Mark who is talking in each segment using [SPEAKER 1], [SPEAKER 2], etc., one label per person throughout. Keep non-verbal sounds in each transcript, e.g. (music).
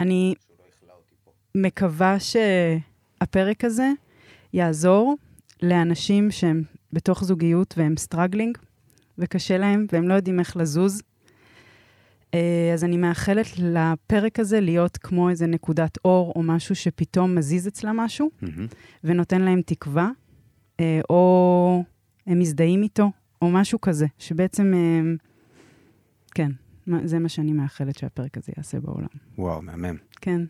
[SPEAKER 1] אני מקווה שהפרק הזה יעזור לאנשים שהם בתוך זוגיות והם סטרגלינג, וקשה להם, והם לא יודעים איך לזוז. אה, אז אני מאחלת לפרק הזה להיות כמו איזה נקודת אור, או משהו שפתאום מזיז אצלם משהו,
[SPEAKER 2] מהמם.
[SPEAKER 1] ונותן להם תקווה, אה, או הם מזדהים איתו, או משהו כזה, שבעצם, אה, כן, מה- זה מה שאני מאחלת שהפרק הזה יעשה בעולם.
[SPEAKER 2] וואו, מהמם.
[SPEAKER 1] כן.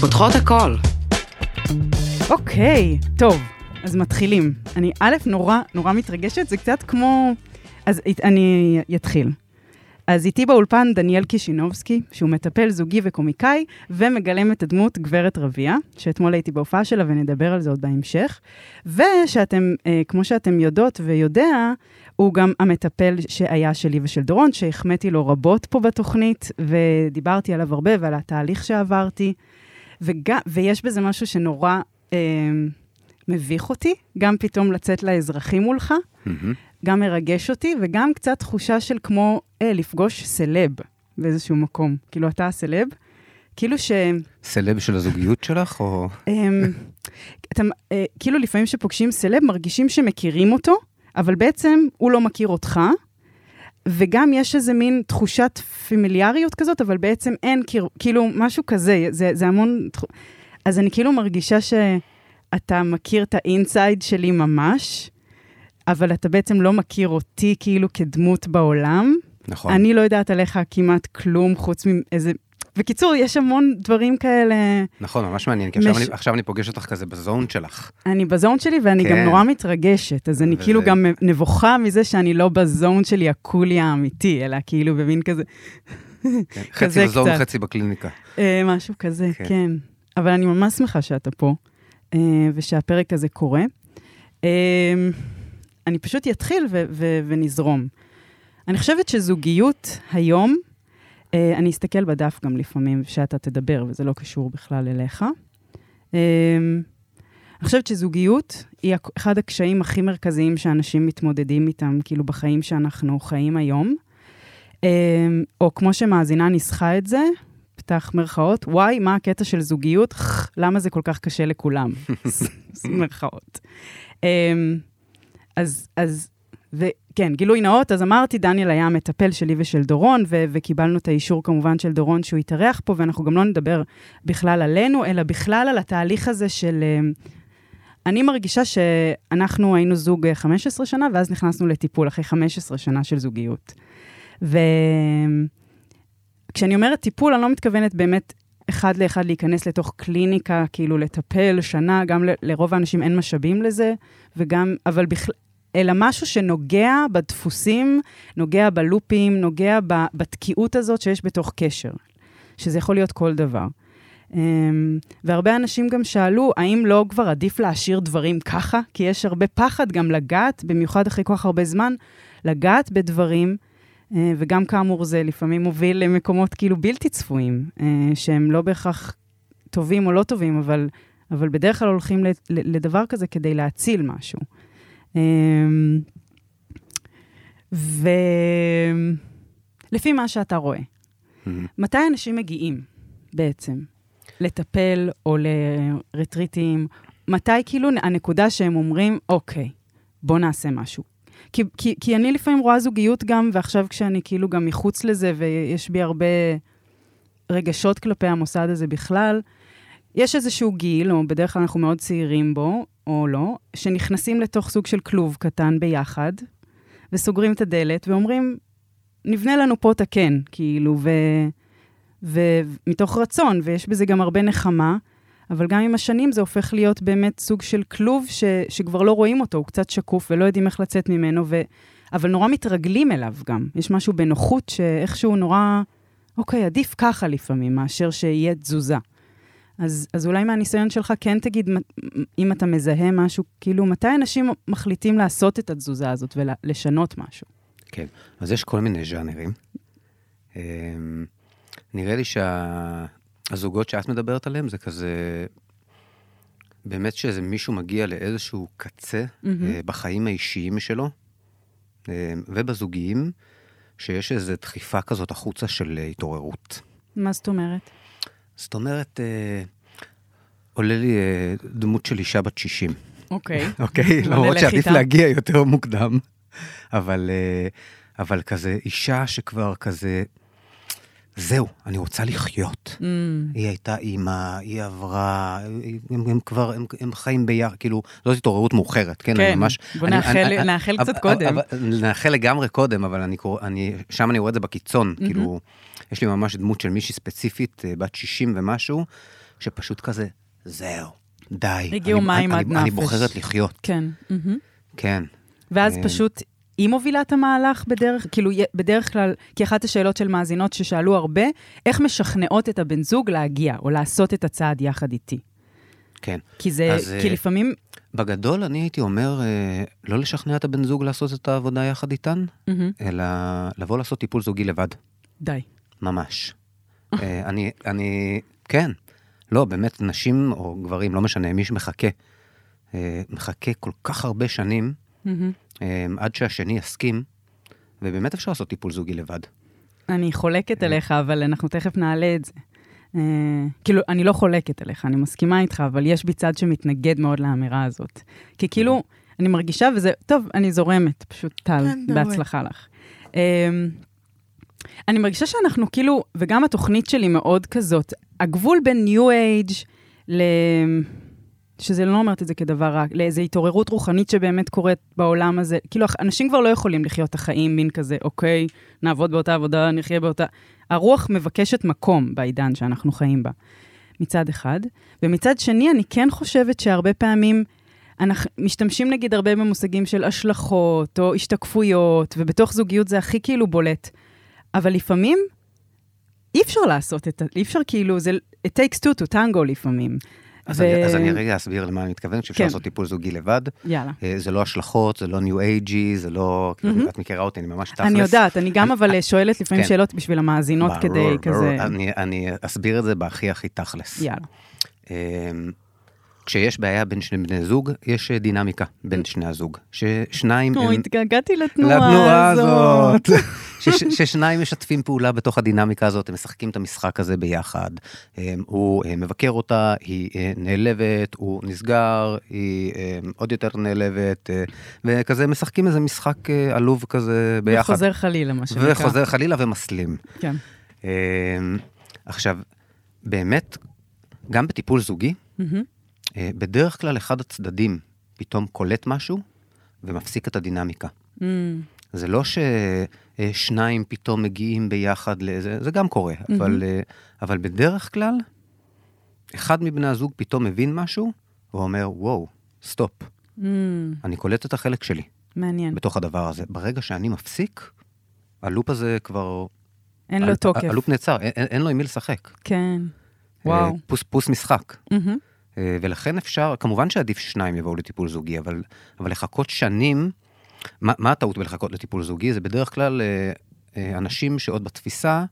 [SPEAKER 3] פותחות הכל.
[SPEAKER 1] אוקיי, טוב, אז מתחילים. אני א', נורא נורא מתרגשת, זה קצת כמו... אז אית- אני אתחיל. אז איתי באולפן דניאל קישינובסקי, שהוא מטפל זוגי וקומיקאי, ומגלם את הדמות גברת רביע, שאתמול הייתי בהופעה שלה ונדבר על זה עוד בהמשך. ושאתם, אה, כמו שאתם יודעות ויודע, הוא גם המטפל שהיה שלי ושל דורון, שהחמאתי לו רבות פה בתוכנית, ודיברתי עליו הרבה ועל התהליך שעברתי. וגם, ויש בזה משהו שנורא אה, מביך אותי, גם פתאום לצאת לאזרחים מולך, Mm-hmm.
[SPEAKER 2] מהמם.
[SPEAKER 1] גם מרגש אותי, וגם קצת תחושה של כמו אה, לפגוש סלב באיזשהו מקום. כאילו, אתה הסלב, כאילו ש...
[SPEAKER 2] סלב של הזוגיות שלך, או...
[SPEAKER 1] אמ, אתה, אה, כאילו לפעמים שפוגשים סלב, מרגישים שמכירים אותו, אבל בעצם הוא לא מכיר אותך, וגם יש איזה מין תחושת פמיליאריות כזאת, אבל בעצם אין, קיר- כאילו, משהו כזה, זה, זה המון... תחו- אז אני כאילו מרגישה שאתה מכיר את האינסייד שלי ממש, אבל אתה בעצם לא מכיר אותי כאילו כדמות בעולם.
[SPEAKER 2] נכון.
[SPEAKER 1] אני לא יודעת עליך כמעט כלום חוץ מאיזה... בקיצור, יש המון דברים כאלה...
[SPEAKER 2] נכון, ממש מעניין, כי עכשיו
[SPEAKER 1] מש-
[SPEAKER 2] אני- עכשיו אני פוגש אותך כזה בזון שלך.
[SPEAKER 1] אני בזון שלי ואני
[SPEAKER 2] כן.
[SPEAKER 1] גם נורא מתרגשת, אז אני
[SPEAKER 2] וזה-
[SPEAKER 1] כאילו גם נבוכה מזה שאני לא בזון שלי הקולי האמיתי, אלא כאילו במין כזה,
[SPEAKER 2] כן?
[SPEAKER 1] (laughs) כזה
[SPEAKER 2] חצי בזון,
[SPEAKER 1] קצת.
[SPEAKER 2] חצי בקליניקה.
[SPEAKER 1] אה, משהו כזה,
[SPEAKER 2] כן.
[SPEAKER 1] כן. כן. אבל אני ממש שמחה שאתה פה, אה, ושהפרק הזה קורה. אה, אני פשוט אתחיל ו- ו- ונזרום. אני חושבת שזוגיות היום, אה, אני אסתכל בדף גם לפעמים, שאתה תדבר, וזה לא קשור בכלל אליך. אה, אני חושבת שזוגיות היא הק- אחד הקשיים הכי מרכזיים שאנשים מתמודדים איתם, כאילו, בחיים שאנחנו חיים היום. אה, או כמו שמאזינה ניסחה את זה, פתח מירכאות, וואי, מה הקטע של זוגיות? "ח, למה זה כל כך קשה לכולם? (laughs) ס- מירכאות. אמ, אז, אז, וכן, גילוי נאות, אז אמרתי, דניאל היה המטפל שלי ושל דורון, ו- וקיבלנו את האישור כמובן של דורון שהוא התארח פה, ואנחנו גם לא נדבר בכלל עלינו, אלא בכלל על התהליך הזה של... אמ, אני מרגישה שאנחנו היינו זוג אה, 15 שנה, ואז נכנסנו לטיפול אחרי 15 שנה של זוגיות. ו... אמ, כשאני אומרת טיפול, אני לא מתכוונת באמת אחד לאחד להיכנס לתוך קליניקה, כאילו לטפל שנה, גם ל- לרוב האנשים אין משאבים לזה, וגם, אבל בכלל, אלא משהו שנוגע בדפוסים, נוגע בלופים, נוגע ב- בתקיעות הזאת שיש בתוך קשר, שזה יכול להיות כל דבר. Um, והרבה אנשים גם שאלו, האם לא כבר עדיף להשאיר דברים ככה? כי יש הרבה פחד גם לגעת, במיוחד אחרי כל כך הרבה זמן, לגעת בדברים אה, וגם כאמור זה לפעמים מוביל למקומות כאילו בלתי צפויים, אה, שהם לא בהכרח טובים או לא טובים, אבל, אבל בדרך כלל הולכים ל- ל- לדבר כזה כדי להציל משהו. אה, ולפי מה שאתה רואה,
[SPEAKER 2] מהמם.
[SPEAKER 1] מתי אנשים מגיעים בעצם לטפל או לרטריטים? מתי כאילו הנקודה שהם אומרים, אוקיי, בוא נעשה משהו? כי, כי, כי אני לפעמים רואה זוגיות גם, ועכשיו כשאני כאילו גם מחוץ לזה, ויש בי הרבה רגשות כלפי המוסד הזה בכלל, יש איזשהו גיל, או בדרך כלל אנחנו מאוד צעירים בו, או לא, שנכנסים לתוך סוג של כלוב קטן ביחד, וסוגרים את הדלת ואומרים, נבנה לנו פה את הקן, כאילו, ו... ומתוך רצון, ויש בזה גם הרבה נחמה, אבל גם עם השנים זה הופך להיות באמת סוג של כלוב ש, שכבר לא רואים אותו, הוא קצת שקוף ולא יודעים איך לצאת ממנו, ו, אבל נורא מתרגלים אליו גם. יש משהו בנוחות שאיכשהו נורא, אוקיי, עדיף ככה לפעמים, מאשר שיהיה תזוזה. אז, אז אולי מהניסיון שלך כן תגיד, מ- אם אתה מזהה משהו, כאילו, מתי אנשים מחליטים לעשות את התזוזה הזאת ולשנות משהו?
[SPEAKER 2] כן, אז יש כל מיני ז'אנרים. אמ, נראה לי שהזוגות שאת מדברת עליהם זה כזה, באמת שאיזה מישהו מגיע לאיזשהו קצה
[SPEAKER 1] מהמם.
[SPEAKER 2] אה, בחיים האישיים שלו, אה, ובזוגיים, שיש איזו דחיפה כזאת החוצה של אה, התעוררות.
[SPEAKER 1] מה זאת אומרת?
[SPEAKER 2] זאת אומרת, אה, עולה לי אה, דמות של אישה בת 60.
[SPEAKER 1] אוקיי.
[SPEAKER 2] (laughs) אוקיי?
[SPEAKER 1] לא
[SPEAKER 2] למרות
[SPEAKER 1] נלך
[SPEAKER 2] שעדיף
[SPEAKER 1] איתה.
[SPEAKER 2] להגיע יותר מוקדם. אבל, אה, אבל כזה אישה שכבר כזה, זהו, אני רוצה לחיות.
[SPEAKER 1] אמ,
[SPEAKER 2] היא הייתה אימא, היא עברה, היא- הם, הם כבר, הם, הם חיים ביחד, כאילו, זאת התעוררות מאוחרת, כן? אני
[SPEAKER 1] כן,
[SPEAKER 2] ממש...
[SPEAKER 1] בוא
[SPEAKER 2] אני-
[SPEAKER 1] נאחל-
[SPEAKER 2] אני- אני-
[SPEAKER 1] נאחל
[SPEAKER 2] אבל-
[SPEAKER 1] קצת
[SPEAKER 2] אבל-
[SPEAKER 1] קודם.
[SPEAKER 2] אבל- נאחל לגמרי קודם, אבל אני קורא, אני, שם אני רואה את זה בקיצון, כאילו, יש לי ממש דמות של מישהי ספציפית, אה, בת 60 ומשהו, שפשוט כזה, זהו, די.
[SPEAKER 1] הגיעו
[SPEAKER 2] אני-
[SPEAKER 1] מים
[SPEAKER 2] אני-
[SPEAKER 1] עד
[SPEAKER 2] אני
[SPEAKER 1] נפש."
[SPEAKER 2] בוחרת לחיות.
[SPEAKER 1] כן. מהמם.
[SPEAKER 2] כן.
[SPEAKER 1] ואז
[SPEAKER 2] אה,
[SPEAKER 1] פשוט היא מובילה את המהלך בדרך, כאילו י- בדרך כלל, כי אחת השאלות של מאזינות ששאלו הרבה, איך משכנעות את הבן זוג להגיע או לעשות את הצעד יחד איתי?
[SPEAKER 2] כן.
[SPEAKER 1] כי זה,
[SPEAKER 2] אז, אה,
[SPEAKER 1] כי לפעמים,
[SPEAKER 2] בגדול, אני הייתי אומר, אה, לא לשכנע את הבן זוג לעשות את העבודה יחד איתן,
[SPEAKER 1] מהמם.
[SPEAKER 2] אלא לבוא לעשות טיפול זוגי לבד,
[SPEAKER 1] די.
[SPEAKER 2] ממש. אה, אני, אני, כן. לא, באמת, נשים או גברים, לא משנה, מי שמחכה, אה, מחכה כל כך הרבה שנים
[SPEAKER 1] מהמם.
[SPEAKER 2] אה, עד שהשני יסכים, ובאמת אפשר לעשות טיפול זוגי לבד.
[SPEAKER 1] אני חולקת עליך, אבל אנחנו תכף נעלה את זה. אה, כאילו, אני לא חולקת עליך, אני מסכימה איתך, אבל יש בי צד שמתנגד מאוד לאמירה הזאת. כי כאילו, אני מרגישה וזה, טוב, אני זורמת, פשוט טל, בהצלחה לך. אה, אני מרגישה שאנחנו כאילו, וגם התוכנית שלי מאוד כזאת, הגבול בין ניו אייג' ל... שזה לא אומרת את זה כדבר רע, לאיזו התעוררות רוחנית שבאמת קורית בעולם הזה. כאילו, אח- אנשים כבר לא יכולים לחיות את החיים, מין כזה, אוקיי, נעבוד באותה עבודה, נחיה באותה... הרוח מבקשת מקום בעידן שאנחנו חיים בה, מצד אחד. ומצד שני, אני כן חושבת שהרבה פעמים אנחנו משתמשים נגיד הרבה במושגים של השלכות או השתקפויות, ובתוך זוגיות זה הכי כאילו בולט. אבל לפעמים אי אפשר לעשות את ה... אי אפשר כאילו, זה... It takes two to tango לפעמים.
[SPEAKER 2] אז,
[SPEAKER 1] ו-
[SPEAKER 2] ו... אני, אז אני רגע אסביר למה אני מתכוון, שאפשר
[SPEAKER 1] כן.
[SPEAKER 2] לעשות טיפול זוגי לבד.
[SPEAKER 1] יאללה.
[SPEAKER 2] אה, זה לא השלכות, זה לא ניו אייג'י, זה לא...
[SPEAKER 1] מהמם.
[SPEAKER 2] כאילו, את מכירה אותי, אני ממש תכלס.
[SPEAKER 1] אני יודעת, אני גם
[SPEAKER 2] אני-
[SPEAKER 1] אבל אה, שואלת לפעמים
[SPEAKER 2] כן.
[SPEAKER 1] שאלות בשביל המאזינות
[SPEAKER 2] ברור,
[SPEAKER 1] כדי כזה...
[SPEAKER 2] ברור. אני, אני אסביר את זה בהכי הכי תכלס.
[SPEAKER 1] יאללה.
[SPEAKER 2] אמ, כשיש בעיה בין שני בני זוג, יש אה, דינמיקה בין שני הזוג. ששניים
[SPEAKER 1] אוי,
[SPEAKER 2] הם...
[SPEAKER 1] התגעגעתי לתנועה
[SPEAKER 2] לתנועה
[SPEAKER 1] הזאת.
[SPEAKER 2] הזאת. (laughs) שש, ששניים משתפים פעולה בתוך הדינמיקה הזאת, הם משחקים את המשחק הזה ביחד. הם, הוא אה, מבקר אותה, היא אה, נעלבת, הוא נסגר, היא אה, עוד יותר נעלבת, אה, וכזה משחקים איזה משחק אה, עלוב כזה ביחד.
[SPEAKER 1] וחוזר חלילה, מה שנקרא.
[SPEAKER 2] וחוזר חלילה ומסלים.
[SPEAKER 1] כן.
[SPEAKER 2] אמ, עכשיו, באמת, גם בטיפול זוגי,
[SPEAKER 1] מהמם.
[SPEAKER 2] אה, בדרך כלל אחד הצדדים פתאום קולט משהו ומפסיק את הדינמיקה.
[SPEAKER 1] אמ,
[SPEAKER 2] זה לא ששניים פתאום מגיעים ביחד לזה, זה גם קורה, אבל, אה, אבל בדרך כלל, אחד מבני הזוג פתאום מבין משהו, הוא אומר, וואו, סטופ,
[SPEAKER 1] אמ,
[SPEAKER 2] אני קולט את החלק שלי
[SPEAKER 1] מעניין.
[SPEAKER 2] בתוך הדבר הזה. ברגע שאני מפסיק, הלופ הזה כבר...
[SPEAKER 1] אין לו
[SPEAKER 2] ה-
[SPEAKER 1] תוקף.
[SPEAKER 2] הלופ נעצר, אין, אין- אין לו עם מי לשחק.
[SPEAKER 1] כן.
[SPEAKER 2] אה,
[SPEAKER 1] וואו.
[SPEAKER 2] פוס, פוס משחק.
[SPEAKER 1] מהמם.
[SPEAKER 2] אה, ולכן אפשר, כמובן שעדיף ששניים יבואו לטיפול זוגי, אבל, אבל לחכות שנים, מה, מה הטעות בלחכות לטיפול זוגי? זה בדרך כלל אה, אה, אנשים שעוד בתפיסה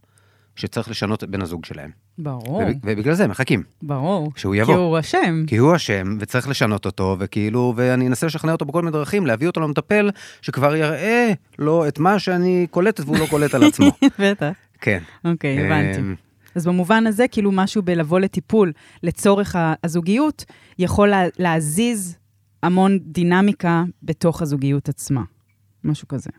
[SPEAKER 2] שצריך לשנות את בן הזוג שלהם.
[SPEAKER 1] ברור,
[SPEAKER 2] וב- ובגלל זה הם מחכים,
[SPEAKER 1] ברור.
[SPEAKER 2] שהוא
[SPEAKER 1] כי
[SPEAKER 2] יבוא.
[SPEAKER 1] הוא אשם.
[SPEAKER 2] כי הוא אשם, וצריך לשנות אותו, וכאילו, ואני אנסה לשכנע אותו בכל מיני דרכים, להביא אותו למטפל, שכבר יראה לו את מה שאני קולטת והוא לא קולט על
[SPEAKER 1] (laughs)
[SPEAKER 2] עצמו.
[SPEAKER 1] בטח.
[SPEAKER 2] כן.
[SPEAKER 1] אוקיי, הבנתי.
[SPEAKER 2] אמ,
[SPEAKER 1] אז במובן הזה, כאילו משהו בלבוא לטיפול לצורך ה- הזוגיות, יכול לה- להזיז המון דינמיקה בתוך הזוגיות עצמה. משהו כזה.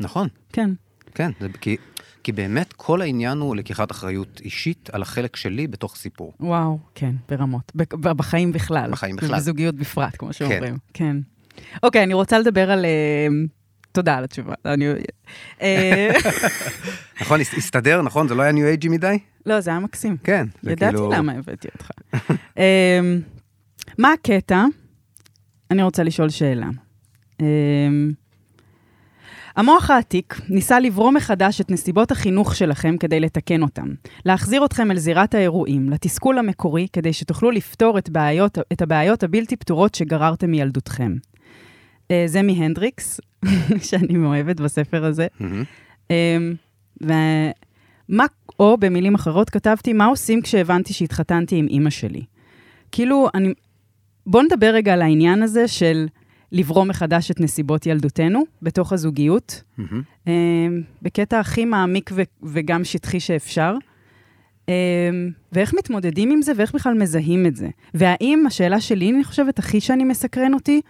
[SPEAKER 2] נכון.
[SPEAKER 1] כן.
[SPEAKER 2] כן, זה כי, כי באמת כל העניין הוא לקיחת אחריות אישית על החלק שלי בתוך סיפור.
[SPEAKER 1] וואו, כן, ברמות. ב- ב- בחיים בכלל.
[SPEAKER 2] בחיים בכלל.
[SPEAKER 1] ובזוגיות בפרט, כמו שאומרים.
[SPEAKER 2] כן.
[SPEAKER 1] כן. אוקיי, אני רוצה לדבר על... אה, תודה על התשובה. אני...
[SPEAKER 2] (laughs)
[SPEAKER 1] אה,
[SPEAKER 2] נכון, הס- הסתדר, נכון? זה לא היה ניו אייג'י מדי?
[SPEAKER 1] לא, זה היה מקסים.
[SPEAKER 2] כן. זה
[SPEAKER 1] ידעתי
[SPEAKER 2] כאילו-
[SPEAKER 1] למה הבאתי אותך. אמ, מה הקטע? אני רוצה לשאול שאלה. אמ, המוח העתיק ניסה לברום מחדש את נסיבות החינוך שלכם כדי לתקן אותם, להחזיר אתכם אל זירת האירועים, לתסכול המקורי, כדי שתוכלו לפתור את, בעיות, את הבעיות הבלתי פתורות שגררתם מילדותכם. אה, זה מהנדריקס, (laughs) שאני מאוהבת בספר הזה.
[SPEAKER 2] מהמם.
[SPEAKER 1] אמ, ומה, או במילים אחרות כתבתי, מה עושים כשהבנתי שהתחתנתי עם אימא שלי? כאילו, אני... בוא נדבר רגע על העניין הזה של לברום מחדש את נסיבות ילדותנו בתוך הזוגיות,
[SPEAKER 2] מהמם.
[SPEAKER 1] אה, בקטע הכי מעמיק ו- וגם שטחי שאפשר. אה, ואיך מתמודדים עם זה ואיך בכלל מזהים את זה. והאם, השאלה שלי, אני חושבת, הכי שאני מסקרן אותי,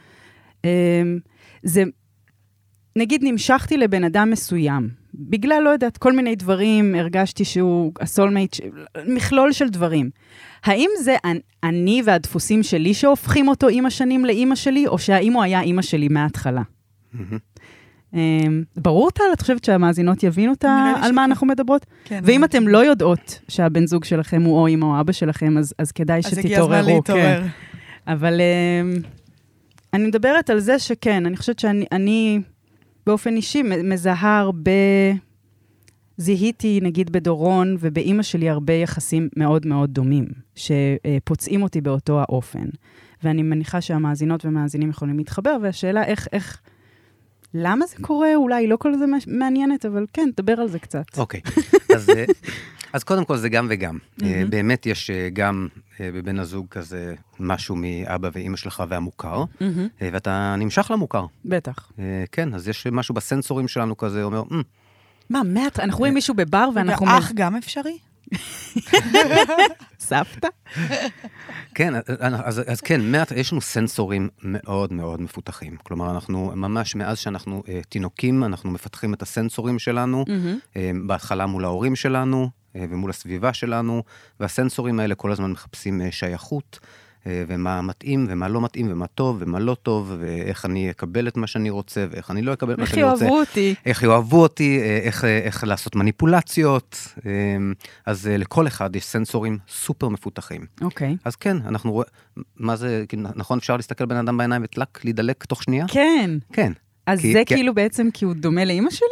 [SPEAKER 1] אה, זה, נגיד נמשכתי לבן אדם מסוים, בגלל, לא יודעת, כל מיני דברים, הרגשתי שהוא הסולמייט, ש- מכלול של דברים. האם זה אנ- אני והדפוסים שלי שהופכים אותו עם השנים לאימא שלי, או שהאם הוא היה אימא שלי מההתחלה?
[SPEAKER 2] מהמם.
[SPEAKER 1] אמ, ברור, טל? את חושבת שהמאזינות יבינו את ה-
[SPEAKER 4] נראה לי
[SPEAKER 1] על מה
[SPEAKER 4] שכן.
[SPEAKER 1] אנחנו מדברות?
[SPEAKER 4] כן.
[SPEAKER 1] ואם אתם לא יודעות שהבן זוג שלכם הוא או אמא או אבא שלכם, אז, אז כדאי
[SPEAKER 4] אז
[SPEAKER 1] שתתעוררו.
[SPEAKER 4] הגיע הזמן
[SPEAKER 1] כן.
[SPEAKER 4] להתעורר.
[SPEAKER 1] אבל אמ, אני מדברת על זה שכן, אני חושבת שאני אני באופן אישי מ- מזהה הרבה... זיהיתי, נגיד, בדורון ובאימא שלי הרבה יחסים מאוד מאוד דומים, שפוצעים אותי באותו האופן. ואני מניחה שהמאזינות והמאזינים יכולים להתחבר, והשאלה איך, איך, למה זה קורה, אולי לא כל זה מש- מעניינת, אבל כן, דבר על זה קצת.
[SPEAKER 2] אוקיי, אז, אה, אז קודם כל זה גם וגם. אה, באמת יש אה, גם אה, בבן הזוג כזה משהו מאבא ואימא שלך והמוכר, אה, ואתה נמשך למוכר.
[SPEAKER 1] בטח.
[SPEAKER 2] אה, כן, אז יש משהו בסנסורים שלנו כזה, אומר, "מ,
[SPEAKER 1] מה, מעט, אנחנו רואים מישהו בבר ואנחנו...
[SPEAKER 4] ואח גם אפשרי?
[SPEAKER 1] סבתא?
[SPEAKER 2] כן, אז- אז, אז כן, מעט, יש לנו סנסורים מאוד מאוד מפותחים. כלומר, אנחנו ממש, מאז שאנחנו אה, תינוקים, אנחנו מפתחים את הסנסורים שלנו, אה, בהתחלה מול ההורים שלנו אה, ומול הסביבה שלנו, והסנסורים האלה כל הזמן מחפשים אה, שייכות, אה, ומה מתאים ומה לא מתאים, ומה טוב ומה לא טוב, ואיך אני אקבל את מה שאני רוצה, ואיך אני לא אקבל את מה
[SPEAKER 1] איך
[SPEAKER 2] שאני רוצה.
[SPEAKER 1] יאהבו אותי.
[SPEAKER 2] איך יאהבו אותי, אה, איך, אה, איך לעשות מניפולציות. אה, אז אה, לכל אחד יש סנסורים סופר מפותחים.
[SPEAKER 1] אוקיי.
[SPEAKER 2] אז כן, אנחנו רואים, מה זה, כאילו, נכון, אפשר להסתכל בן אדם בעיניים וטלק, להידלק תוך שנייה?
[SPEAKER 1] כן.
[SPEAKER 2] כן.
[SPEAKER 1] אז
[SPEAKER 2] כי-
[SPEAKER 1] זה
[SPEAKER 2] כי-
[SPEAKER 1] כאילו בעצם כי הוא דומה לאימא שלי?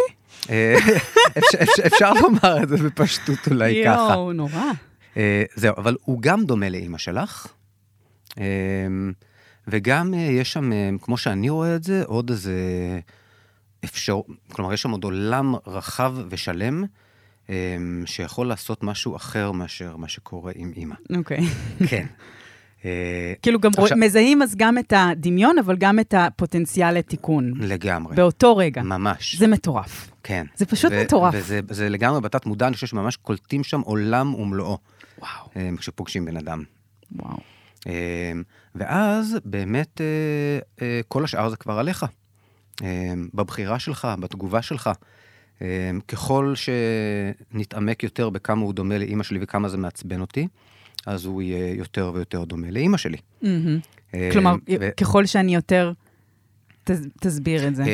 [SPEAKER 2] אה, (laughs) אפשר- אפשר- אפשר לומר את זה בפשטות אולי ככה.
[SPEAKER 1] יואו, נורא.
[SPEAKER 2] אה, זהו, אבל הוא גם דומה לאימא שלך, אה, וגם אה, יש שם, אה, כמו שאני רואה את זה, עוד איזה אפשר, כלומר, יש שם עוד עולם רחב ושלם, אה, שיכול לעשות משהו אחר מאשר מה שקורה עם
[SPEAKER 1] (laughs)
[SPEAKER 2] אימא.
[SPEAKER 1] אוקיי.
[SPEAKER 2] כן. אה,
[SPEAKER 1] כאילו גם
[SPEAKER 2] עכשיו-
[SPEAKER 1] רוא- מזהים אז גם את הדמיון, אבל גם את הפוטנציאל לתיקון.
[SPEAKER 2] לגמרי.
[SPEAKER 1] באותו רגע.
[SPEAKER 2] ממש.
[SPEAKER 1] זה מטורף.
[SPEAKER 2] כן.
[SPEAKER 1] זה פשוט מטורף.
[SPEAKER 2] וזה זה לגמרי בתת מודע, אני חושב שממש קולטים שם עולם ומלואו,
[SPEAKER 1] וואו.
[SPEAKER 2] אה, כשפוגשים בן אדם.
[SPEAKER 1] וואו.
[SPEAKER 2] אה, ואז באמת אה, אה, כל השאר זה כבר עליך. אה, בבחירה שלך, בתגובה שלך. אה, ככל שנתעמק יותר בכמה הוא דומה לאימא שלי וכמה זה מעצבן אותי, אז הוא יהיה יותר ויותר דומה לאימא שלי.
[SPEAKER 1] מהמם.
[SPEAKER 2] אה,
[SPEAKER 1] כלומר,
[SPEAKER 2] ו-
[SPEAKER 1] ככל שאני יותר... תס- תסביר את זה.
[SPEAKER 2] אמ,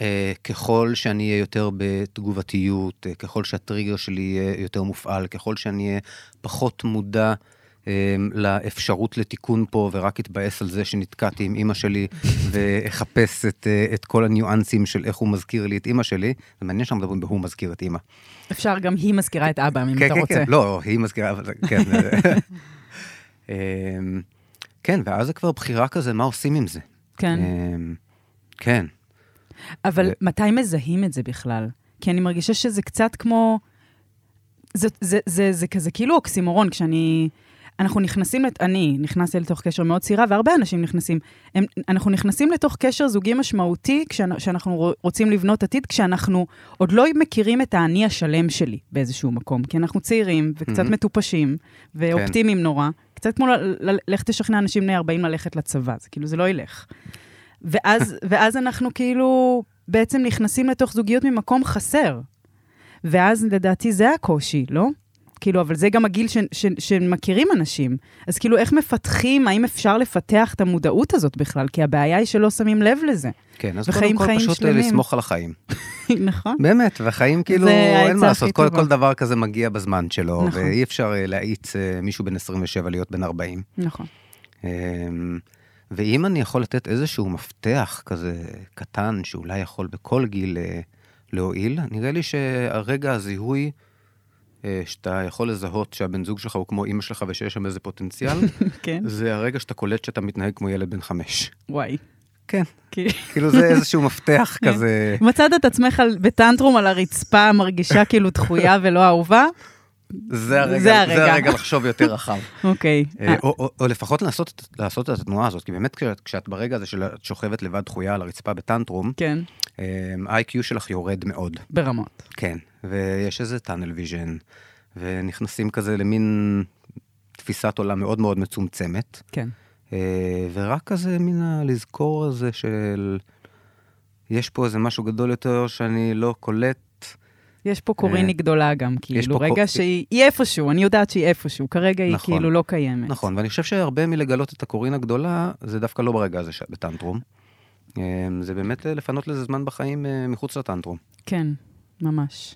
[SPEAKER 1] כן.
[SPEAKER 2] אה, ככל שאני אהיה יותר בתגובתיות, אה, ככל שהטריגר שלי יהיה יותר מופעל, ככל שאני אהיה פחות מודע אמ, לאפשרות לתיקון פה, ורק אתבאס על זה שנתקעתי עם אימא
[SPEAKER 1] (laughs)
[SPEAKER 2] שלי, ואחפש את, אה, את כל הניואנסים של איך הוא מזכיר לי את אימא שלי, זה מעניין שאנחנו מדברים בהוא מזכיר את אימא.
[SPEAKER 1] אפשר גם היא מזכירה את אבא, אם
[SPEAKER 2] כן,
[SPEAKER 1] אתה
[SPEAKER 2] כן,
[SPEAKER 1] רוצה.
[SPEAKER 2] כן, לא, היא מזכירה, אבל זה-
[SPEAKER 1] (laughs)
[SPEAKER 2] כן. אה, אמ, כן, ואז זה כבר בחירה כזה, מה עושים עם זה?
[SPEAKER 1] כן.
[SPEAKER 2] אמ, כן.
[SPEAKER 1] אבל
[SPEAKER 2] ו-
[SPEAKER 1] מתי מזהים את זה בכלל? כי אני מרגישה שזה קצת כמו... זה, זה, זה, זה כזה כאילו אוקסימורון, כשאני... אנחנו נכנסים, לת... אני נכנסתי לתוך קשר מאוד צעירה, והרבה אנשים נכנסים. הם, אנחנו נכנסים לתוך קשר זוגי משמעותי כשאנ- כשאנחנו רוצ- רוצים לבנות עתיד, כשאנחנו עוד לא מכירים את האני השלם שלי באיזשהו מקום. כי אנחנו צעירים וקצת
[SPEAKER 2] מהמם.
[SPEAKER 1] מטופשים ואופטימיים נורא. קצת כמו ל- ל- לך תשכנע אנשים בני 40 ללכת לצבא, זה כאילו, זה לא ילך. ואז, ואז אנחנו כאילו בעצם נכנסים לתוך זוגיות ממקום חסר. ואז לדעתי זה הקושי, לא? כאילו, אבל זה גם הגיל ש, ש, שמכירים אנשים. אז כאילו, איך מפתחים, האם אפשר לפתח את המודעות הזאת בכלל? כי הבעיה היא שלא שמים לב לזה. (laughs)
[SPEAKER 2] כן, אז
[SPEAKER 1] וחיים-
[SPEAKER 2] קודם כל
[SPEAKER 1] חיים
[SPEAKER 2] פשוט אה,
[SPEAKER 1] שלמים.
[SPEAKER 2] לסמוך על החיים.
[SPEAKER 1] נכון?
[SPEAKER 2] באמת, והחיים כאילו,
[SPEAKER 1] זה
[SPEAKER 2] אין
[SPEAKER 1] העצה
[SPEAKER 2] מה
[SPEAKER 1] הכי
[SPEAKER 2] לעשות, כל,
[SPEAKER 1] טובה.
[SPEAKER 2] כל דבר כזה מגיע בזמן שלו,
[SPEAKER 1] נכון.
[SPEAKER 2] ואי אפשר אה, להאיץ אה, מישהו בן 27 להיות בן 40.
[SPEAKER 1] נכון.
[SPEAKER 2] אמ, ואם אני יכול לתת איזשהו מפתח כזה קטן, שאולי יכול בכל גיל אה, להועיל, נראה לי שהרגע הזיהוי, אה, שאתה יכול לזהות שהבן זוג שלך הוא כמו אימא שלך ושיש שם איזה
[SPEAKER 1] (laughs)
[SPEAKER 2] פוטנציאל,
[SPEAKER 1] (laughs) כן.
[SPEAKER 2] זה הרגע שאתה קולט שאתה מתנהג כמו ילד בן חמש.
[SPEAKER 1] וואי.
[SPEAKER 2] כן,
[SPEAKER 1] כי-
[SPEAKER 2] כאילו זה איזשהו
[SPEAKER 1] (laughs)
[SPEAKER 2] מפתח
[SPEAKER 1] כן.
[SPEAKER 2] כזה.
[SPEAKER 1] מצאת את עצמך על- בטנטרום על הרצפה, מרגישה כאילו דחויה ולא אהובה?
[SPEAKER 2] זה הרגע,
[SPEAKER 1] זה הרגע.
[SPEAKER 2] זה הרגע לחשוב יותר (laughs) רחב.
[SPEAKER 1] אוקיי.
[SPEAKER 2] אה, או, או, או לפחות לעשות, לעשות את התנועה הזאת, כי באמת כשאת, כשאת ברגע הזה שאת שוכבת לבד דחויה על הרצפה בטנטרום,
[SPEAKER 1] כן,
[SPEAKER 2] אמ, ה-IQ שלך יורד מאוד.
[SPEAKER 1] ברמות.
[SPEAKER 2] כן. ויש איזה tunnel vision, ונכנסים כזה למין תפיסת עולם מאוד מאוד מצומצמת,
[SPEAKER 1] כן.
[SPEAKER 2] אה, ורק כזה מן הלזכור הזה של יש פה איזה משהו גדול יותר שאני לא קולט.
[SPEAKER 1] יש פה קוריני גדולה גם, כאילו,
[SPEAKER 2] אה, פה
[SPEAKER 1] רגע
[SPEAKER 2] קור-
[SPEAKER 1] שהיא היא איפשהו, אני יודעת שהיא איפשהו, כרגע היא
[SPEAKER 2] נכון.
[SPEAKER 1] כאילו לא קיימת.
[SPEAKER 2] נכון, ואני חושב שהרבה מלגלות את הקורין הגדולה, זה דווקא לא ברגע הזה שאת בטנטרום. אה, זה באמת אה, לפנות לזה זמן בחיים אה, מחוץ לטנטרום.
[SPEAKER 1] כן, ממש.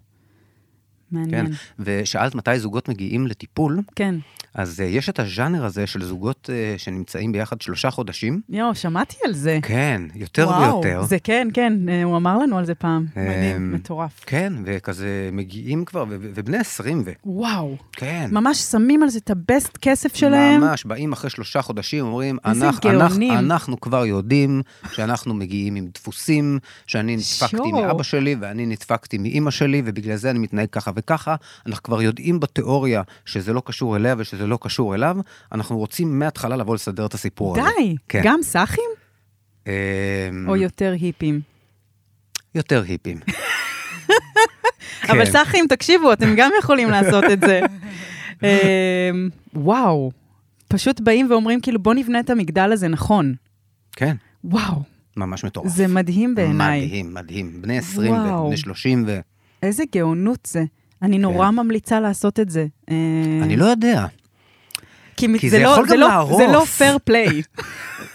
[SPEAKER 2] כן.
[SPEAKER 1] מעניין.
[SPEAKER 2] ושאלת מתי זוגות מגיעים לטיפול,
[SPEAKER 1] כן.
[SPEAKER 2] אז אה, יש את הז'אנר הזה של זוגות אה, שנמצאים ביחד שלושה חודשים.
[SPEAKER 1] יואו, שמעתי על זה.
[SPEAKER 2] כן, יותר ויותר.
[SPEAKER 1] זה כן, כן, אה, הוא אמר לנו על זה פעם.
[SPEAKER 2] אמ,
[SPEAKER 1] מדהים, מטורף.
[SPEAKER 2] כן, וכזה מגיעים כבר, ו- ו- ובני 20 ו...
[SPEAKER 1] וואו,
[SPEAKER 2] כן.
[SPEAKER 1] ממש שמים על זה את הבסט כסף שלהם.
[SPEAKER 2] ממש, באים אחרי שלושה חודשים, אומרים,
[SPEAKER 1] איזה
[SPEAKER 2] אנחנו, אנחנו,
[SPEAKER 1] גאונים."
[SPEAKER 2] אנחנו כבר יודעים שאנחנו מגיעים עם דפוסים, שאני נדפקתי
[SPEAKER 1] שואו.
[SPEAKER 2] מאבא שלי ואני נדפקתי מאימא שלי, ובגלל זה אני מתנהג ככה וככה. אנחנו כבר יודעים בתיאוריה שזה לא קשור אליה ושזה לא קשור אליו, אנחנו רוצים מההתחלה לבוא לסדר את הסיפור הזה.
[SPEAKER 1] די,
[SPEAKER 2] כן.
[SPEAKER 1] גם סאחים
[SPEAKER 2] אמ,
[SPEAKER 1] או יותר היפים?
[SPEAKER 2] יותר היפים.
[SPEAKER 1] (laughs)
[SPEAKER 2] כן.
[SPEAKER 1] אבל סאחים, תקשיבו, אתם גם יכולים לעשות את
[SPEAKER 2] (laughs)
[SPEAKER 1] זה. אמ, וואו, פשוט באים ואומרים, כאילו, בוא נבנה את המגדל הזה נכון.
[SPEAKER 2] כן,
[SPEAKER 1] וואו,
[SPEAKER 2] ממש מטורף.
[SPEAKER 1] זה מדהים בעיניי.
[SPEAKER 2] מדהים, מדהים. בני 20
[SPEAKER 1] וואו.
[SPEAKER 2] ובני 30 ו...
[SPEAKER 1] איזה גאונות זה. אני נורא ממליצה לעשות את זה. אה,
[SPEAKER 2] כן. אני לא יודע.
[SPEAKER 1] כי
[SPEAKER 2] כי
[SPEAKER 1] זה
[SPEAKER 2] זה
[SPEAKER 1] לא-
[SPEAKER 2] יכול
[SPEAKER 1] זה
[SPEAKER 2] גם
[SPEAKER 1] לא-
[SPEAKER 2] להרוס.
[SPEAKER 1] זה לא פייר פליי.
[SPEAKER 2] (laughs)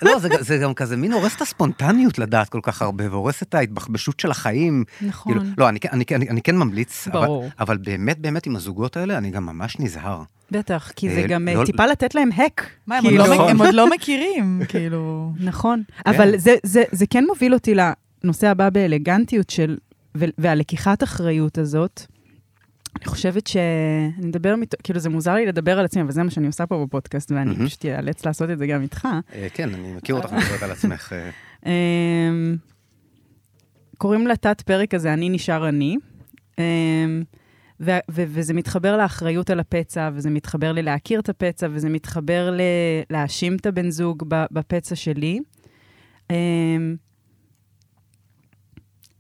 [SPEAKER 2] לא, זה, זה גם כזה מין הורס את הספונטניות לדעת כל כך הרבה, והורס את ההתבחבשות של החיים.
[SPEAKER 1] נכון.
[SPEAKER 2] כאילו, לא, אני, כן- אני, כן- אני, אני כן ממליץ, אבל,
[SPEAKER 1] ברור.
[SPEAKER 2] אבל באמת באמת עם הזוגות האלה אני גם ממש נזהר.
[SPEAKER 1] בטח, כי זה
[SPEAKER 2] אה,
[SPEAKER 1] גם אה,
[SPEAKER 2] לא-
[SPEAKER 1] טיפה לתת להם הק.
[SPEAKER 4] מה, הם עוד
[SPEAKER 1] כאילו.
[SPEAKER 4] לא
[SPEAKER 2] נכון.
[SPEAKER 4] מכ- הם עוד
[SPEAKER 2] (laughs)
[SPEAKER 4] לא
[SPEAKER 1] (laughs)
[SPEAKER 4] מכירים, כאילו...
[SPEAKER 1] נכון, אבל זה, זה, זה כן מוביל אותי לנושא הבא באלגנטיות של, ו- והלקיחת אחריות הזאת. אני חושבת ש... אני מדבר, מת... כאילו זה מוזר לי לדבר על עצמי, אבל זה מה שאני עושה פה בפודקאסט, ואני
[SPEAKER 2] מהמם.
[SPEAKER 1] פשוט אאלץ לעשות את זה גם איתך.
[SPEAKER 2] אה, כן, אני מכיר אותך מדברת על
[SPEAKER 1] (laughs)
[SPEAKER 2] עצמך. אה,
[SPEAKER 1] אמ, קוראים לתת פרק הזה "אני נשאר אני", אמ, ו- ו- וזה מתחבר לאחריות על הפצע, וזה מתחבר ללהכיר את הפצע, וזה מתחבר ל- להאשים את הבן זוג ב- בפצע שלי. אמ,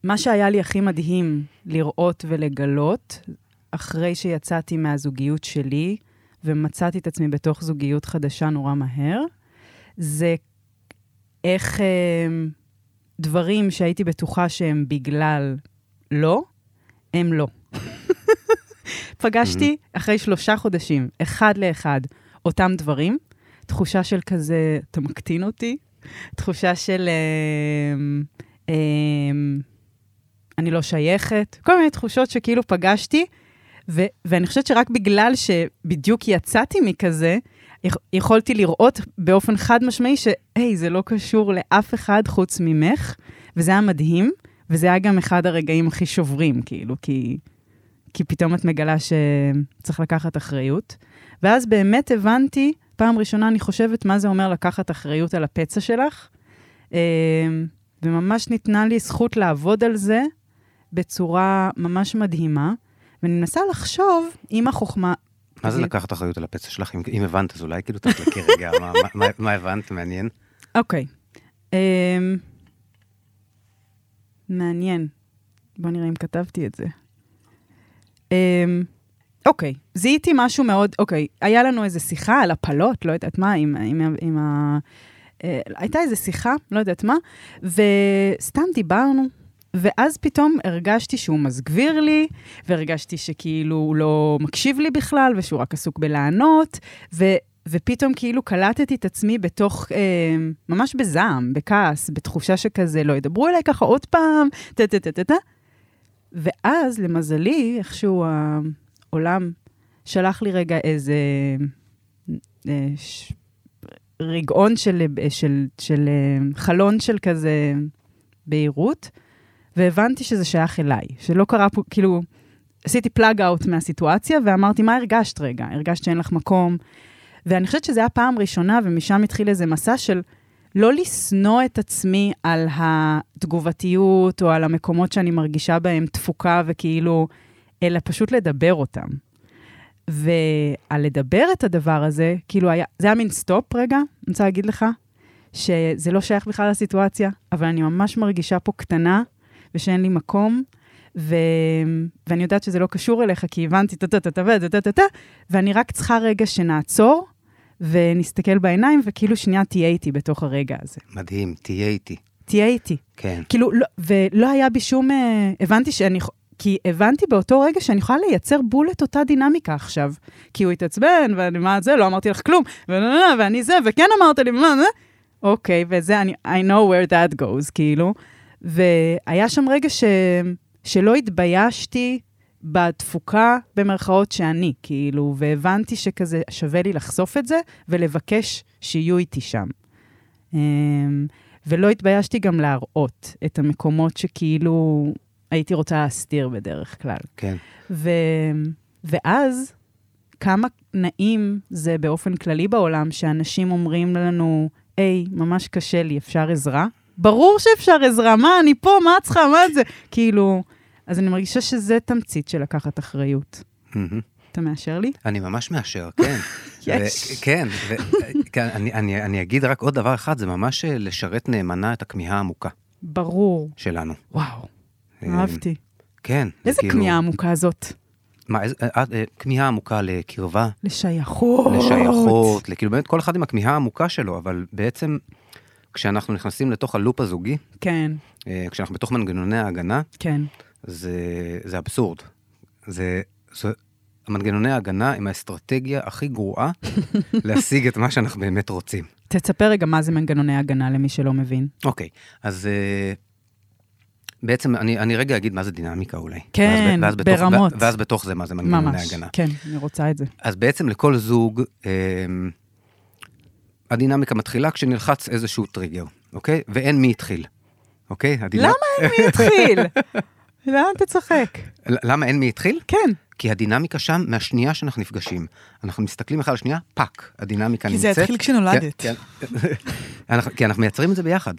[SPEAKER 1] מה שהיה לי הכי מדהים לראות ולגלות, אחרי שיצאתי מהזוגיות שלי, ומצאתי את עצמי בתוך זוגיות חדשה נורא מהר, זה איך הם, דברים שהייתי בטוחה שהם בגלל לא, הם לא. (laughs) פגשתי אחרי שלושה חודשים, אחד לאחד, אותם דברים, תחושה של כזה, אתה מקטין אותי, תחושה של אמ, אמ, אני לא שייכת, כל מיני תחושות שכאילו פגשתי, ו- ואני חושבת שרק בגלל שבדיוק יצאתי מכזה, יכ- יכולתי לראות באופן חד משמעי שהי, זה לא קשור לאף אחד חוץ ממך, וזה היה מדהים, וזה היה גם אחד הרגעים הכי שוברים, כאילו, כי, כי פתאום את מגלה שצריך לקחת אחריות. ואז באמת הבנתי, פעם ראשונה אני חושבת מה זה אומר לקחת אחריות על הפצע שלך, אמ, וממש ניתנה לי זכות לעבוד על זה בצורה ממש מדהימה, ואני מנסה לחשוב אם החוכמה...
[SPEAKER 2] מה זה
[SPEAKER 1] כאילו-
[SPEAKER 2] לקחת אחריות על הפצע שלך? אם, אם הבנת, אז אולי כאילו תחלקי רגע מה, מה- מה, מה הבנת, מעניין.
[SPEAKER 1] אוקיי. אמ, מעניין. בוא נראה אם כתבתי את זה. אמ, אוקיי, זיהיתי משהו מאוד, אוקיי, היה לנו איזו שיחה על הפלות, לא יודעת מה, עם, עם, עם ה... אה, הייתה איזו שיחה, לא יודעת מה, וסתם דיברנו, ואז פתאום הרגשתי שהוא מסגביר לי, והרגשתי שכאילו הוא לא מקשיב לי בכלל, ושהוא רק עסוק בלענות, ו, ופתאום כאילו קלטתי את עצמי בתוך, אה, ממש בזעם, בכעס, בתחושה שכזה, לא ידברו אליי ככה עוד פעם, טה-טה-טה-טה. ואז, למזלי, איכשהו העולם שלח לי רגע איזה אה, ש... רגעון של, של, של, של אה, חלון של כזה בהירות, והבנתי שזה שייך אליי, שלא קרה פה, כאילו, עשיתי פלאג אאוט מהסיטואציה, ואמרתי, מה הרגשת רגע? הרגשת שאין לך מקום? ואני חושבת שזו הייתה פעם ראשונה, ומשם התחיל איזה מסע של לא לשנוא את עצמי על התגובתיות, או על המקומות שאני מרגישה בהם תפוקה וכאילו, אלא פשוט לדבר אותם. ועל לדבר את הדבר הזה, כאילו היה, זה היה מין סטופ רגע, אני רוצה להגיד לך, שזה לא שייך בכלל לסיטואציה, אבל אני ממש מרגישה פה קטנה, ושאין לי מקום, ו... ואני יודעת שזה לא קשור אליך, כי הבנתי טה-טה-טה-טה וטה-טה-טה-טה, ואני רק צריכה רגע שנעצור, ונסתכל בעיניים, וכאילו שנייה תהיה איתי בתוך הרגע הזה.
[SPEAKER 2] מדהים, תהיה איתי.
[SPEAKER 1] תהיה איתי.
[SPEAKER 2] כן.
[SPEAKER 1] כאילו, לא, ולא היה בי שום... אה, הבנתי שאני... יכו- כי הבנתי באותו רגע שאני יכולה לייצר בול את אותה דינמיקה עכשיו. כי הוא התעצבן, ואני מה זה, לא אמרתי לך כלום, ולא, ואני זה, וכן אמרת לי, מה זה? אוקיי, וזה, אני, I know where that goes, כאילו. והיה שם רגע ש, שלא התביישתי בתפוקה, במרכאות, שאני, כאילו, והבנתי שכזה שווה לי לחשוף את זה ולבקש שיהיו איתי שם. אמ, ולא התביישתי גם להראות את המקומות שכאילו הייתי רוצה להסתיר בדרך כלל.
[SPEAKER 2] כן.
[SPEAKER 1] ו... ואז, כמה נעים זה באופן כללי בעולם, שאנשים אומרים לנו, היי, ממש קשה לי, אפשר עזרה? ברור שאפשר עזרה, מה, אני פה, מה את צריכה, מה זה? כאילו, אז אני מרגישה שזה תמצית של לקחת אחריות.
[SPEAKER 2] מהמם.
[SPEAKER 1] אתה מאשר לי?
[SPEAKER 2] אני ממש מאשר, כן.
[SPEAKER 1] (laughs) יש.
[SPEAKER 2] ו- כן, ו- כן, אני- אני אני אגיד רק עוד דבר אחד, זה ממש אה, לשרת נאמנה את הכמיהה העמוקה
[SPEAKER 1] ברור.
[SPEAKER 2] שלנו.
[SPEAKER 1] וואו,
[SPEAKER 2] אה,
[SPEAKER 1] אהבתי.
[SPEAKER 2] כן. זה
[SPEAKER 1] איזה
[SPEAKER 2] כאילו-
[SPEAKER 1] כמיהה עמוקה זאת?
[SPEAKER 2] מה, איזה- אה, אה, כמיהה עמוקה לקרבה,
[SPEAKER 1] לשייכות.
[SPEAKER 2] לשייכות, כאילו באמת כל אחד עם הכמיהה העמוקה שלו, אבל בעצם כשאנחנו נכנסים לתוך הלופ הזוגי,
[SPEAKER 1] כן,
[SPEAKER 2] אה, כשאנחנו בתוך מנגנוני ההגנה,
[SPEAKER 1] כן.
[SPEAKER 2] זה, זה אבסורד. זה, זה מנגנוני ההגנה הם האסטרטגיה הכי
[SPEAKER 1] (laughs)
[SPEAKER 2] גרועה להשיג את מה שאנחנו באמת רוצים.
[SPEAKER 1] תספר רגע מה זה מנגנוני הגנה למי שלא מבין.
[SPEAKER 2] אוקיי, אז אה, בעצם אני, אני רגע אגיד מה זה דינמיקה אולי.
[SPEAKER 1] כן,
[SPEAKER 2] ואז, בתוך,
[SPEAKER 1] ברמות.
[SPEAKER 2] ואז בתוך זה מה זה מנגנוני
[SPEAKER 1] ממש.
[SPEAKER 2] הגנה.
[SPEAKER 1] כן, אני רוצה את זה.
[SPEAKER 2] אז בעצם לכל זוג, אמ, הדינמיקה מתחילה כשנלחץ איזשהו טריגר, אוקיי? ואין מי התחיל, אוקיי? הדינמ...
[SPEAKER 1] למה אין מי יתחיל?
[SPEAKER 2] (laughs)
[SPEAKER 1] למה אתה צוחק?
[SPEAKER 2] ל- למה אין מי התחיל?
[SPEAKER 1] כן,
[SPEAKER 2] כי הדינמיקה שם, מהשנייה שאנחנו נפגשים, אנחנו מסתכלים אחד על השנייה, פאק, הדינמיקה
[SPEAKER 4] כי זה
[SPEAKER 2] נמצאת.
[SPEAKER 4] התחיל כשנולדת.
[SPEAKER 2] כן, כן. (laughs) אנחנו- כי אנחנו מייצרים את זה ביחד.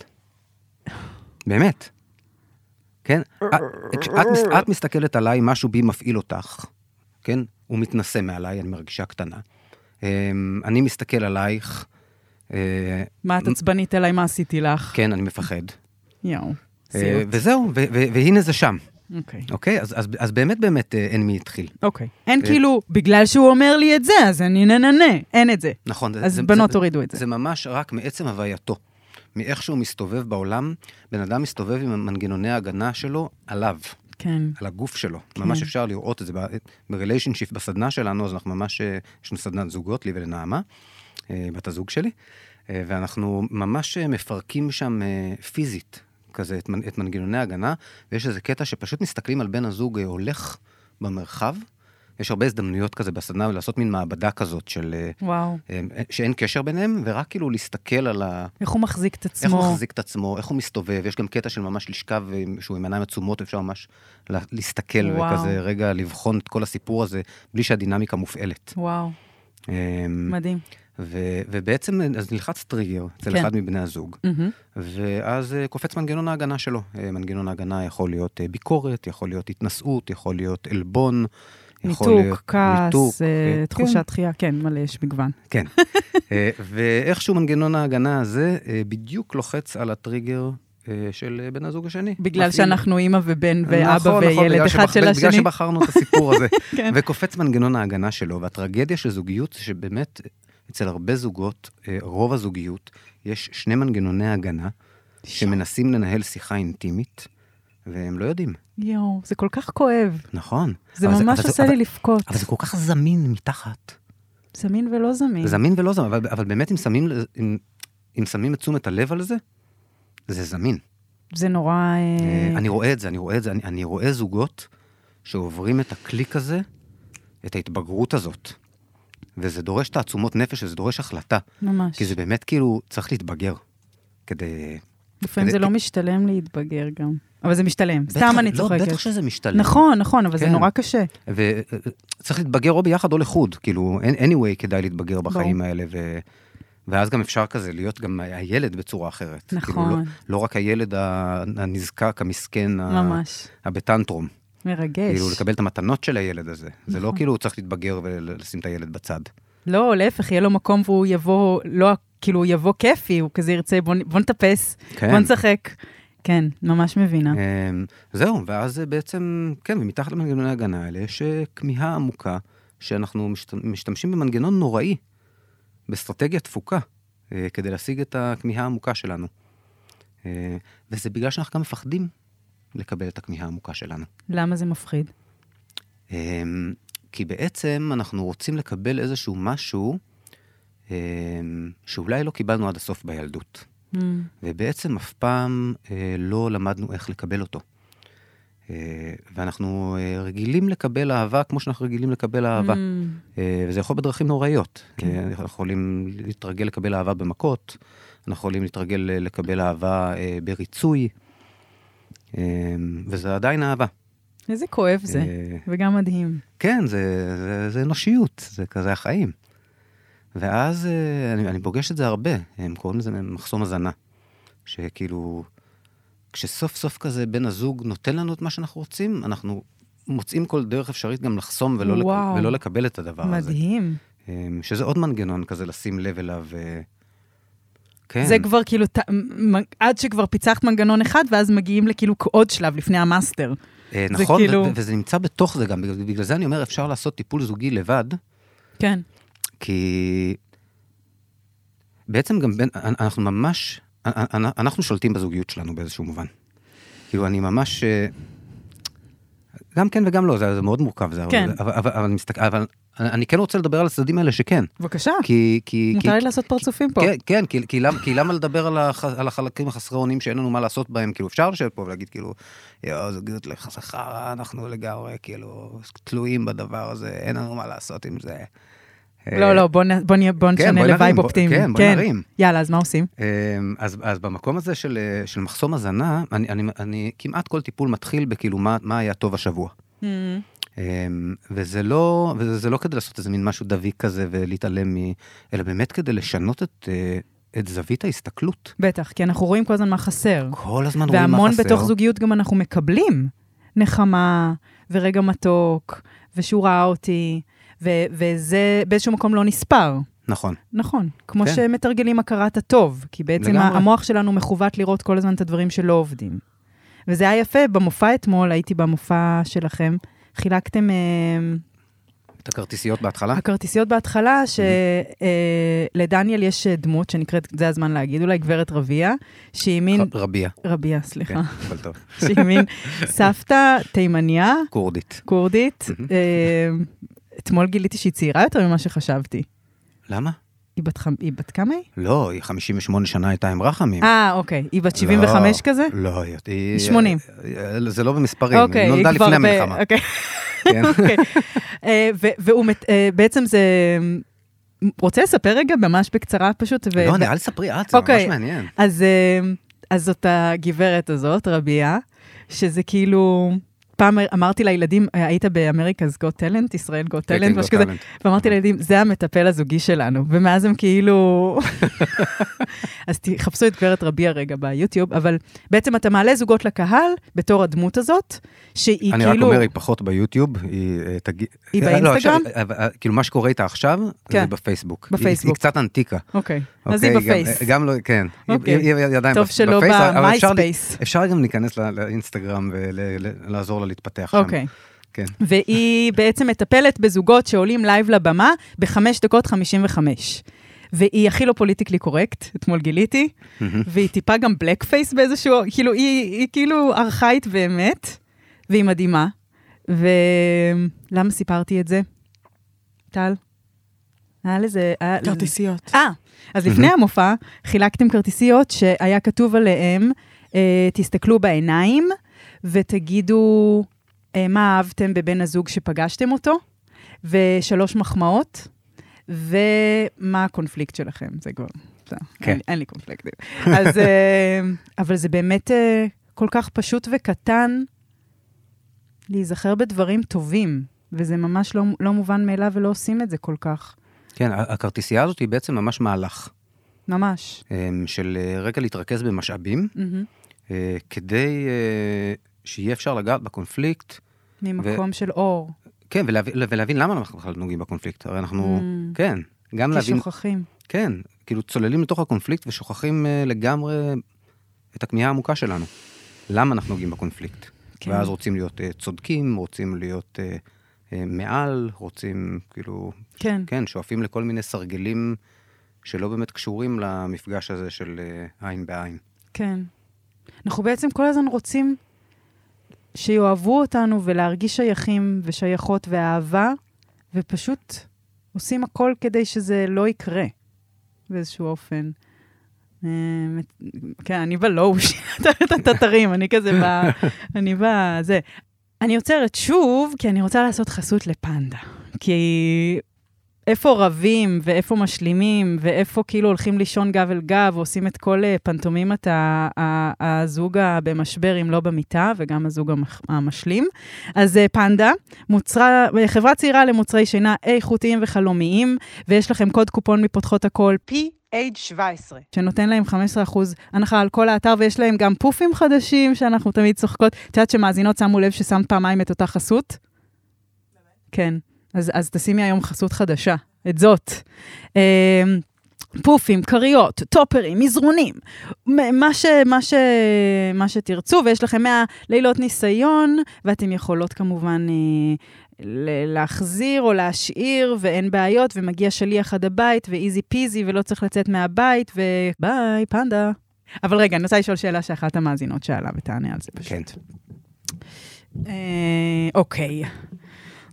[SPEAKER 2] באמת. כן? את- כשאת מס- את מסתכלת עליי, משהו בי מפעיל אותך, כן? הוא מתנשא מעליי, אני מרגישה קטנה. אמ, אני מסתכל עלייך, אה,
[SPEAKER 1] מה את עצבנית אליי, מה עשיתי לך?
[SPEAKER 2] כן, אני מפחד.
[SPEAKER 1] יואו,
[SPEAKER 2] אה,
[SPEAKER 1] סיוט.
[SPEAKER 2] וזהו, ו- ו- והנה זה שם,
[SPEAKER 1] אוקיי.
[SPEAKER 2] אוקיי? אז- אז אז באמת באמת אה, אין מי התחיל.
[SPEAKER 1] אוקיי. אין
[SPEAKER 2] אה,
[SPEAKER 1] כאילו, בגלל שהוא אומר לי את זה, אז אני נננה. אין את זה.
[SPEAKER 2] נכון. זה-
[SPEAKER 1] אז
[SPEAKER 2] זה-
[SPEAKER 1] בנות
[SPEAKER 2] זה-
[SPEAKER 1] הורידו את זה.
[SPEAKER 2] זה ממש רק מעצם הווייתו. מאיך שהוא מסתובב בעולם, בן אדם מסתובב עם מנגנוני ההגנה שלו עליו,
[SPEAKER 1] כן.
[SPEAKER 2] על הגוף שלו. ממש אפשר לראות את זה בריליישנשיפ, בסדנה שלנו, אז אנחנו ממש, אה, יש לנו סדנת זוגות, לי ולנעמה, אה, בת הזוג שלי, אה, ואנחנו ממש אה, מפרקים שם אה, פיזית, כזה, את מנ- את מנגנוני ההגנה, ויש איזה קטע שפשוט מסתכלים על בן הזוג אה, הולך במרחב. יש הרבה הזדמנויות כזה בסדנה, לעשות מין מעבדה כזאת של... אה,
[SPEAKER 1] וואו.
[SPEAKER 2] הם- שאין קשר ביניהם, ורק כאילו להסתכל על ה...
[SPEAKER 1] איך הוא מחזיק את
[SPEAKER 2] איך הוא
[SPEAKER 1] עצמו.
[SPEAKER 2] מחזיק את עצמו, איך הוא מסתובב, יש גם קטע של ממש לשכב עם- שהוא עם עיניים עצומות, אפשר ממש לה- להסתכל
[SPEAKER 1] וואו.
[SPEAKER 2] וכזה רגע לבחון את כל הסיפור הזה בלי שהדינמיקה מופעלת.
[SPEAKER 1] וואו,
[SPEAKER 2] אמ,
[SPEAKER 1] מדהים.
[SPEAKER 2] ו- ובעצם אז נלחץ טריגר אצל
[SPEAKER 1] כן.
[SPEAKER 2] אחד מבני הזוג,
[SPEAKER 1] מהמם.
[SPEAKER 2] ואז אה, קופץ מנגנון ההגנה שלו. אה, מנגנון ההגנה יכול להיות אה, ביקורת, יכול להיות התנשאות, יכול להיות עלבון, יכול
[SPEAKER 1] ניתוק,
[SPEAKER 2] להיות ניתוק,
[SPEAKER 1] כעס, אה,
[SPEAKER 2] אה, כן.
[SPEAKER 1] תחושת דחייה, כן, מלא, יש מגוון.
[SPEAKER 2] כן. אה, ואיכשהו מנגנון ההגנה הזה אה, בדיוק לוחץ על הטריגר אה, של אה, בן הזוג השני.
[SPEAKER 1] בגלל
[SPEAKER 2] מפעיל.
[SPEAKER 1] שאנחנו אימא ובן
[SPEAKER 2] נכון,
[SPEAKER 1] ואבא
[SPEAKER 2] נכון,
[SPEAKER 1] וילד
[SPEAKER 2] בגלל
[SPEAKER 1] אחד
[SPEAKER 2] שבח-
[SPEAKER 1] של
[SPEAKER 2] בגלל
[SPEAKER 1] השני.
[SPEAKER 2] שבחרנו את הסיפור הזה.
[SPEAKER 1] (laughs) כן.
[SPEAKER 2] וקופץ מנגנון ההגנה שלו, והטרגדיה של זוגיות זה שבאמת אצל הרבה זוגות, אה, רוב הזוגיות, יש שני מנגנוני הגנה שמנסים לנהל שיחה אינטימית, והם לא יודעים.
[SPEAKER 1] יואו, זה כל כך כואב.
[SPEAKER 2] נכון.
[SPEAKER 1] זה
[SPEAKER 2] אבל
[SPEAKER 1] ממש
[SPEAKER 2] אבל
[SPEAKER 1] עושה
[SPEAKER 2] אבל-
[SPEAKER 1] לי לבכות.
[SPEAKER 2] אבל זה כל כך זמין מתחת.
[SPEAKER 1] זמין ולא זמין.
[SPEAKER 2] זמין ולא זמין, אבל, אבל באמת אם שמים, ל- אם, אם שמים את תשומת הלב על זה, זה זמין.
[SPEAKER 1] זה נורא... אה,
[SPEAKER 2] אה, אני רואה את זה, אני רואה את זה, אני, אני רואה זוגות שעוברים את הקליק הזה, את ההתבגרות הזאת. וזה דורש תעצומות נפש, וזה דורש החלטה.
[SPEAKER 1] ממש.
[SPEAKER 2] כי זה באמת כאילו, צריך להתבגר. כדי...
[SPEAKER 1] לפעמים
[SPEAKER 2] כדי-
[SPEAKER 1] זה לא משתלם להתבגר גם. אבל זה משתלם, סתם
[SPEAKER 2] בטח-
[SPEAKER 1] אני
[SPEAKER 2] לא,
[SPEAKER 1] צוחקת.
[SPEAKER 2] בטח שזה משתלם.
[SPEAKER 1] נכון, נכון, אבל זה
[SPEAKER 2] כן.
[SPEAKER 1] נורא קשה.
[SPEAKER 2] וצריך להתבגר או ביחד או לחוד, כאילו, אין- anyway כדאי להתבגר בחיים האלה, ו... ואז גם אפשר כזה להיות גם הילד בצורה אחרת. כאילו,
[SPEAKER 1] נכון.
[SPEAKER 2] לא, לא רק הילד ה- הנזקק, המסכן, ה-
[SPEAKER 1] ממש.
[SPEAKER 2] הבטנטרום.
[SPEAKER 1] מרגש.
[SPEAKER 2] כאילו, לקבל את המתנות של הילד הזה. זה
[SPEAKER 1] נכון.
[SPEAKER 2] לא כאילו הוא צריך להתבגר ולשים את הילד בצד.
[SPEAKER 1] לא, להפך, יהיה לו מקום והוא יבוא, לא, כאילו, הוא יבוא כיפי, הוא כזה ירצה, בוא, נ- בוא נטפס,
[SPEAKER 2] כן.
[SPEAKER 1] בוא נשחק. כן, ממש מבינה.
[SPEAKER 2] אמ, זהו, ואז אה, בעצם, כן, ומתחת למנגנוני ההגנה האלה יש אה, כמיהה עמוקה, שאנחנו משת- משתמשים במנגנון נוראי, באסטרטגיית תפוקה, אה, כדי להשיג את הכמיהה העמוקה שלנו. אה, וזה בגלל שאנחנו גם מפחדים לקבל את הכמיהה העמוקה שלנו.
[SPEAKER 1] למה זה מפחיד?
[SPEAKER 2] אמ, כי בעצם אנחנו רוצים לקבל איזשהו משהו אמ, שאולי לא קיבלנו עד הסוף בילדות.
[SPEAKER 1] Mm,
[SPEAKER 2] ובעצם אף פעם אה, לא למדנו איך לקבל אותו. אה, ואנחנו אה, רגילים לקבל אהבה כמו שאנחנו רגילים לקבל אהבה.
[SPEAKER 1] mm,
[SPEAKER 2] אה, וזה יכול בדרכים נוראיות.
[SPEAKER 1] כן.
[SPEAKER 2] אה, אנחנו יכולים להתרגל לקבל אהבה במכות, אנחנו יכולים להתרגל אה, לקבל אהבה אה, בריצוי, אה, וזה עדיין אהבה.
[SPEAKER 1] איזה כואב זה,
[SPEAKER 2] אה,
[SPEAKER 1] וגם מדהים.
[SPEAKER 2] כן, זה, זה, זה אנושיות, זה כזה החיים. ואז אה, אני, אני פוגש את זה הרבה, הם קוראים לזה מחסום הזנה. שכאילו, כשסוף סוף כזה בן הזוג נותן לנו את מה שאנחנו רוצים, אנחנו מוצאים כל דרך אפשרית גם לחסום ולא, לק,
[SPEAKER 1] וואו.
[SPEAKER 2] ולא לקבל את הדבר הזה.
[SPEAKER 1] מדהים.
[SPEAKER 2] מדהים. שזה עוד מנגנון כזה לשים לב אליו. אה, כן.
[SPEAKER 1] זה כבר כאילו, ת, מ, עד שכבר פיצחת מנגנון אחד, ואז מגיעים לכאילו עוד שלב לפני המאסטר.
[SPEAKER 2] אה,
[SPEAKER 1] זה
[SPEAKER 2] נכון,
[SPEAKER 1] כאילו-
[SPEAKER 2] ו- וזה נמצא בתוך זה גם, בגלל בגלל זה אני אומר, אפשר לעשות טיפול זוגי לבד,
[SPEAKER 1] כן.
[SPEAKER 2] כי בעצם גם בין, אנ- אנחנו ממש, אנ- אנ- אנחנו שולטים בזוגיות שלנו באיזשהו מובן. כאילו, אני ממש... אה, גם כן וגם לא, זה, זה מאוד מורכב, זה,
[SPEAKER 1] כן.
[SPEAKER 2] אבל, אבל, אבל, אני מסתכל, אבל אני אני כן רוצה לדבר על הצדדים האלה שכן.
[SPEAKER 1] בבקשה.
[SPEAKER 2] כי, כי, כי,
[SPEAKER 1] אה, מותר לי לעשות פרצופים פה.
[SPEAKER 2] כן, כן, כי, כי, למה, כי למה לדבר על, הח, על החלקים החסרי אונים שאין לנו מה לעשות בהם? כאילו, אפשר לשבת פה ולהגיד, כאילו, יואו, זוגיות לך שכרה, אנחנו לגמרי, כאילו, תלויים בדבר הזה, אין לנו מה לעשות עם זה.
[SPEAKER 1] לא, לא, בוא, נ, בוא, נהיה- בוא
[SPEAKER 2] כן,
[SPEAKER 1] נשנה
[SPEAKER 2] בוא נרים,
[SPEAKER 1] לווייב
[SPEAKER 2] בוא-
[SPEAKER 1] אופטימי.
[SPEAKER 2] כן, בוא נרים.
[SPEAKER 1] יאללה, אז מה עושים?
[SPEAKER 2] אמ, אז, אז במקום הזה של, אה, של מחסום הזנה, אני, אני, אני כמעט כל טיפול מתחיל בכאילו מה, מה היה טוב השבוע.
[SPEAKER 1] Mm-hmm.
[SPEAKER 2] אמ, וזה לא, וזה זה לא כדי לעשות איזה מין משהו דביק כזה ולהתעלם מ... אלא באמת כדי לשנות את, אה, את זווית ההסתכלות.
[SPEAKER 1] בטח, כי אנחנו רואים כל הזמן מה חסר.
[SPEAKER 2] כל הזמן רואים מה
[SPEAKER 1] והמון
[SPEAKER 2] חסר.
[SPEAKER 1] בתוך זוגיות גם אנחנו מקבלים נחמה, ורגע מתוק, ושהוא ראה אותי, ו- וזה באיזשהו מקום לא נספר.
[SPEAKER 2] נכון,
[SPEAKER 1] נכון, כמו
[SPEAKER 2] כן.
[SPEAKER 1] שמתרגלים הכרת הטוב, כי בעצם
[SPEAKER 2] לגמרי.
[SPEAKER 1] המוח שלנו מכוות לראות כל הזמן את הדברים שלא עובדים. וזה היה יפה, במופע אתמול, הייתי במופע שלכם, חילקתם אה,
[SPEAKER 2] את הכרטיסיות בהתחלה.
[SPEAKER 1] הכרטיסיות בהתחלה, שלדניאל יש אה, דמות שנקראת, זה הזמן להגיד, אולי גברת רביה, שהיא מין, אה.
[SPEAKER 2] ר- רביע,
[SPEAKER 1] רביה,
[SPEAKER 2] כן,
[SPEAKER 1] סליחה,
[SPEAKER 2] אבל טוב,
[SPEAKER 1] (laughs) שהיא מין סבתא תימניה,
[SPEAKER 2] כורדית.
[SPEAKER 1] כורדית. אה, אתמול גיליתי שהיא צעירה יותר ממה שחשבתי.
[SPEAKER 2] למה?
[SPEAKER 1] היא בת, חמ- היא בת כמה היא?
[SPEAKER 2] לא, היא 58 שנה הייתה עם רחמים.
[SPEAKER 1] אה, אוקיי. היא בת 75 כזה?
[SPEAKER 2] לא, היא- היא...
[SPEAKER 1] 80.
[SPEAKER 2] אה, זה לא במספרים,
[SPEAKER 1] אוקיי,
[SPEAKER 2] היא נולדה לפני
[SPEAKER 1] כבר ב-
[SPEAKER 2] המלחמה.
[SPEAKER 1] אוקיי.
[SPEAKER 2] כן. (laughs)
[SPEAKER 1] אוקיי. אה, ו- והוא, מת- אה, בעצם זה... רוצה לספר רגע ממש בקצרה פשוט? ו-
[SPEAKER 2] לא,
[SPEAKER 1] ו-
[SPEAKER 2] אני- אל תספרי את, זה ממש
[SPEAKER 1] אוקיי.
[SPEAKER 2] מעניין.
[SPEAKER 1] אז, אה, אז זאת הגברת הזאת, רביה, שזה כאילו... פעם אמרתי לילדים, אה, היית באמריקה's Got Talent, ישראל Got
[SPEAKER 2] כן,
[SPEAKER 1] Talent,
[SPEAKER 2] Got
[SPEAKER 1] משהו כזה,
[SPEAKER 2] Talent.
[SPEAKER 1] ואמרתי לילדים, זה המטפל הזוגי שלנו, ומאז הם
[SPEAKER 2] (laughs)
[SPEAKER 1] כאילו... אז תחפשו את גברת רביה רגע ביוטיוב, אבל בעצם אתה מעלה זוגות לקהל בתור הדמות הזאת, שהיא
[SPEAKER 2] אני
[SPEAKER 1] כאילו...
[SPEAKER 2] רק אומר, היא פחות ביוטיוב, היא אה, תגיד...
[SPEAKER 1] היא
[SPEAKER 2] אה, לא,
[SPEAKER 1] באינסטגרם?
[SPEAKER 2] עכשיו, אה, אה, כאילו, מה שקורה איתה עכשיו, זה
[SPEAKER 1] כן.
[SPEAKER 2] בפייסבוק.
[SPEAKER 1] בפייסבוק.
[SPEAKER 2] היא- היא קצת אנטיקה.
[SPEAKER 1] אוקיי, אז היא
[SPEAKER 2] אוקיי? גם-
[SPEAKER 1] בפייס.
[SPEAKER 2] אה, גם לא, כן. היא-
[SPEAKER 1] אוקיי.
[SPEAKER 2] היא- היא היא עדיין
[SPEAKER 1] טוב
[SPEAKER 2] בפ-
[SPEAKER 1] שלא
[SPEAKER 2] בפייס, אבל אפשר-
[SPEAKER 1] במייספייס.
[SPEAKER 2] אפשר גם להיכנס לא- לאינסטגרם ולעזור לה להתפתח שם.
[SPEAKER 1] אוקיי.
[SPEAKER 2] כן.
[SPEAKER 1] והיא בעצם מטפלת בזוגות שעולים לייב לבמה בחמש דקות 55. והיא הכי לא פוליטיקלי קורקט, אתמול גיליתי, והיא טיפה גם בלק פייס באיזשהו, כאילו, היא, היא כאילו ארכאית באמת, והיא מדהימה. ולמה סיפרתי את זה? טל? היה לזה... היה-
[SPEAKER 4] כרטיסיות.
[SPEAKER 1] אה, אז לפני המופע חילקתם כרטיסיות שהיה כתוב עליהם, אה, תסתכלו בעיניים ותגידו אה, מה אהבתם בבן הזוג שפגשתם אותו, ושלוש מחמאות, ומה הקונפליקט שלכם, זה כבר, בסדר,
[SPEAKER 2] כן.
[SPEAKER 1] אין, אין לי קונפליקטים. אז, אה, (laughs) אבל זה באמת אה, כל כך פשוט וקטן להיזכר בדברים טובים, וזה ממש לא, לא מובן מאליו ולא עושים את זה כל כך,
[SPEAKER 2] כן, ה- הכרטיסייה הזאת היא בעצם ממש מהלך
[SPEAKER 1] ממש.
[SPEAKER 2] אה, של אה, רגע להתרכז במשאבים,
[SPEAKER 1] מהמם.
[SPEAKER 2] אה, כדי אה, שיהיה אפשר לגעת בקונפליקט
[SPEAKER 1] ממקום של אור.
[SPEAKER 2] כן, ולהבין, ולהבין למה אנחנו בכלל נוגעים בקונפליקט. הרי אנחנו,
[SPEAKER 1] Mm.
[SPEAKER 2] כן, גם
[SPEAKER 1] כי
[SPEAKER 2] להבין,
[SPEAKER 1] שוכחים.
[SPEAKER 2] כן, כאילו צוללים לתוך הקונפליקט ושוכחים אה, לגמרי את הכמיהה העמוקה שלנו. למה אנחנו נוגעים בקונפליקט?
[SPEAKER 1] כן.
[SPEAKER 2] ואז רוצים להיות אה, צודקים, רוצים להיות אה, אה, מעל, רוצים, כאילו,
[SPEAKER 1] כן.
[SPEAKER 2] כן, שואפים לכל מיני סרגלים שלא באמת קשורים למפגש הזה של אה, עין בעין.
[SPEAKER 1] כן. אנחנו בעצם כל הזמן רוצים שיאהבו אותנו ולהרגיש שייכים ושייכות ואהבה, ופשוט עושים הכל כדי שזה לא יקרה באיזשהו אופן. אה, כן, אני בלואו (laughs) של התתרים, אני כזה ב...
[SPEAKER 2] (laughs)
[SPEAKER 1] אני בזה. אני עוצרת שוב, כי אני רוצה לעשות חסות לפנדה. כי איפה רבים, ואיפה משלימים, ואיפה כאילו הולכים לישון גב אל גב, ועושים את כל אה, פנטומימת ה- ה- הזוג במשבר, אם לא במיטה, וגם הזוג המח- המשלים. אז אה, פנדה, מוצרה, אה, חברה צעירה למוצרי שינה איכותיים וחלומיים, ויש לכם קוד קופון מפותחות הכל, PH17, שנותן להם 15% הנחה על כל האתר, ויש להם גם פופים חדשים, שאנחנו תמיד צוחקות. את יודעת שמאזינות שמו לב ששמת פעמיים את אותה חסות? כן. אז, אז תשימי היום חסות חדשה, את זאת. אמ, פופים, כריות, טופרים, מזרונים, מ- מה, ש, מה, ש, מה שתרצו, ויש לכם 100 לילות ניסיון, ואתם יכולות כמובן אה, ל- להחזיר או להשאיר, ואין בעיות, ומגיע שליח עד הבית, ואיזי פיזי, ולא צריך לצאת מהבית, וביי, פנדה. אבל רגע, אני רוצה לשאול שאלה שאחת המאזינות שאלה, ותענה על זה פשוט.
[SPEAKER 2] כן.
[SPEAKER 1] אה, אוקיי.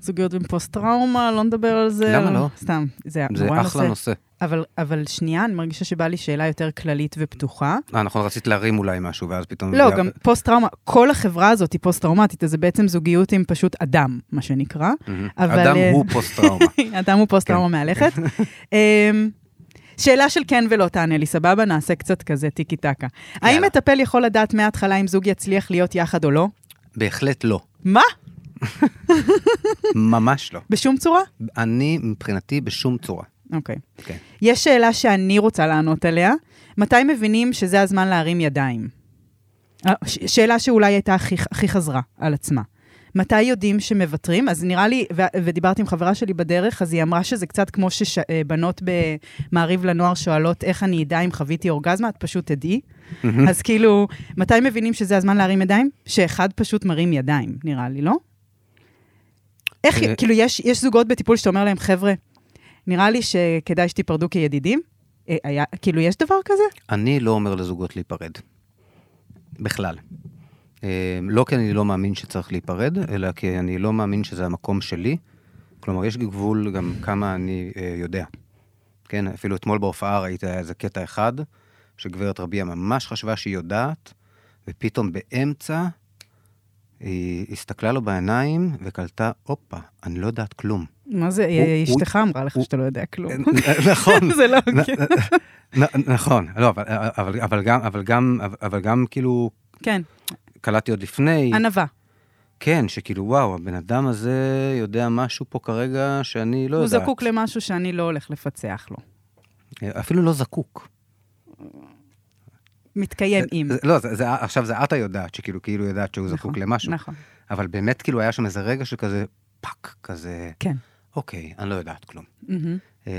[SPEAKER 1] זוגיות עם פוסט-טראומה, לא נדבר על זה.
[SPEAKER 2] למה
[SPEAKER 1] אבל-
[SPEAKER 2] לא?
[SPEAKER 1] סתם, זה
[SPEAKER 2] זה
[SPEAKER 1] נורא
[SPEAKER 2] אחלה נושא.
[SPEAKER 1] אבל, אבל שנייה, אני מרגישה שבא לי שאלה יותר כללית ופתוחה.
[SPEAKER 2] אה, נכון, רצית להרים אולי משהו, ואז פתאום...
[SPEAKER 1] לא,
[SPEAKER 2] זה-
[SPEAKER 1] גם פוסט-טראומה, כל החברה הזאת היא פוסט-טראומטית, אז זה בעצם זוגיות עם פשוט אדם, מה שנקרא.
[SPEAKER 2] מהמם.
[SPEAKER 1] אבל,
[SPEAKER 2] אדם
[SPEAKER 1] אה,
[SPEAKER 2] הוא כן. פוסט-טראומה.
[SPEAKER 1] (laughs) אדם הוא פוסט-טראומה מהלכת.
[SPEAKER 2] (laughs)
[SPEAKER 1] אמ, שאלה של כן ולא תענה לי, סבבה? נעשה קצת כזה טיקי-טקה. האם
[SPEAKER 2] יאללה.
[SPEAKER 1] מטפל יכול לדעת מההתחלה אם זוג יצליח להיות יחד או לא?
[SPEAKER 2] בהחלט לא.
[SPEAKER 1] מה?
[SPEAKER 2] ממש לא.
[SPEAKER 1] בשום צורה?
[SPEAKER 2] אני, מבחינתי, בשום צורה.
[SPEAKER 1] אוקיי.
[SPEAKER 2] כן.
[SPEAKER 1] יש שאלה שאני רוצה לענות עליה, מתי מבינים שזה הזמן להרים ידיים? אה, ש- שאלה שאולי הייתה הכי, הכי חזרה על עצמה. מתי יודעים שמוותרים? אז נראה לי, ו- ודיברתי עם חברה שלי בדרך, אז היא אמרה שזה קצת כמו שבנות במעריב לנוער שואלות, איך אני אדע אם חוויתי אורגזמה? את פשוט תדעי.
[SPEAKER 2] (laughs)
[SPEAKER 1] אז כאילו, מתי מבינים שזה הזמן להרים ידיים? שאחד פשוט מרים ידיים, נראה לי, לא? איך,
[SPEAKER 2] אה.
[SPEAKER 1] כאילו, יש, יש זוגות בטיפול שאתה אומר להם, חבר'ה, נראה לי שכדאי שתיפרדו כידידים? אה, היה, כאילו, יש דבר כזה?
[SPEAKER 2] אני לא אומר לזוגות להיפרד. בכלל. אה, לא כי אני לא מאמין שצריך להיפרד, אלא כי אני לא מאמין שזה המקום שלי. כלומר, יש גבול גם כמה אני אה, יודע. כן, אפילו אתמול בהופעה ראית איזה קטע אחד, שגברת רביה ממש חשבה שהיא יודעת, ופתאום באמצע היא הסתכלה לו בעיניים וקלטה, הופה, אני לא יודעת כלום.
[SPEAKER 1] מה זה, אה,
[SPEAKER 2] הוא-
[SPEAKER 1] אשתך אמרה לך
[SPEAKER 2] הוא-
[SPEAKER 1] שאתה לא יודע כלום.
[SPEAKER 2] (laughs) נכון.
[SPEAKER 1] (laughs) זה לא
[SPEAKER 2] נ-
[SPEAKER 1] כן.
[SPEAKER 2] נ- נ- נכון, לא, אבל- אבל- אבל גם, אבל גם, אבל גם כאילו,
[SPEAKER 1] כן,
[SPEAKER 2] קלטתי עוד לפני,
[SPEAKER 1] ענווה.
[SPEAKER 2] כן, שכאילו, וואו, הבן אדם הזה יודע משהו פה כרגע שאני לא
[SPEAKER 1] הוא
[SPEAKER 2] יודעת.
[SPEAKER 1] זקוק למשהו שאני לא הולך לפצח לו.
[SPEAKER 2] אפילו לא זקוק.
[SPEAKER 1] מתקיים עם.
[SPEAKER 2] זה- לא, זה, זה, עכשיו זה את היודעת, שכאילו, כאילו יודעת שהוא זקוק
[SPEAKER 1] נכון,
[SPEAKER 2] למשהו.
[SPEAKER 1] נכון,
[SPEAKER 2] אבל באמת, כאילו, היה שם איזה רגע שכזה, פאק, כזה,
[SPEAKER 1] כן.
[SPEAKER 2] אוקיי, אני לא יודעת כלום.
[SPEAKER 1] מהמם.
[SPEAKER 2] אמ,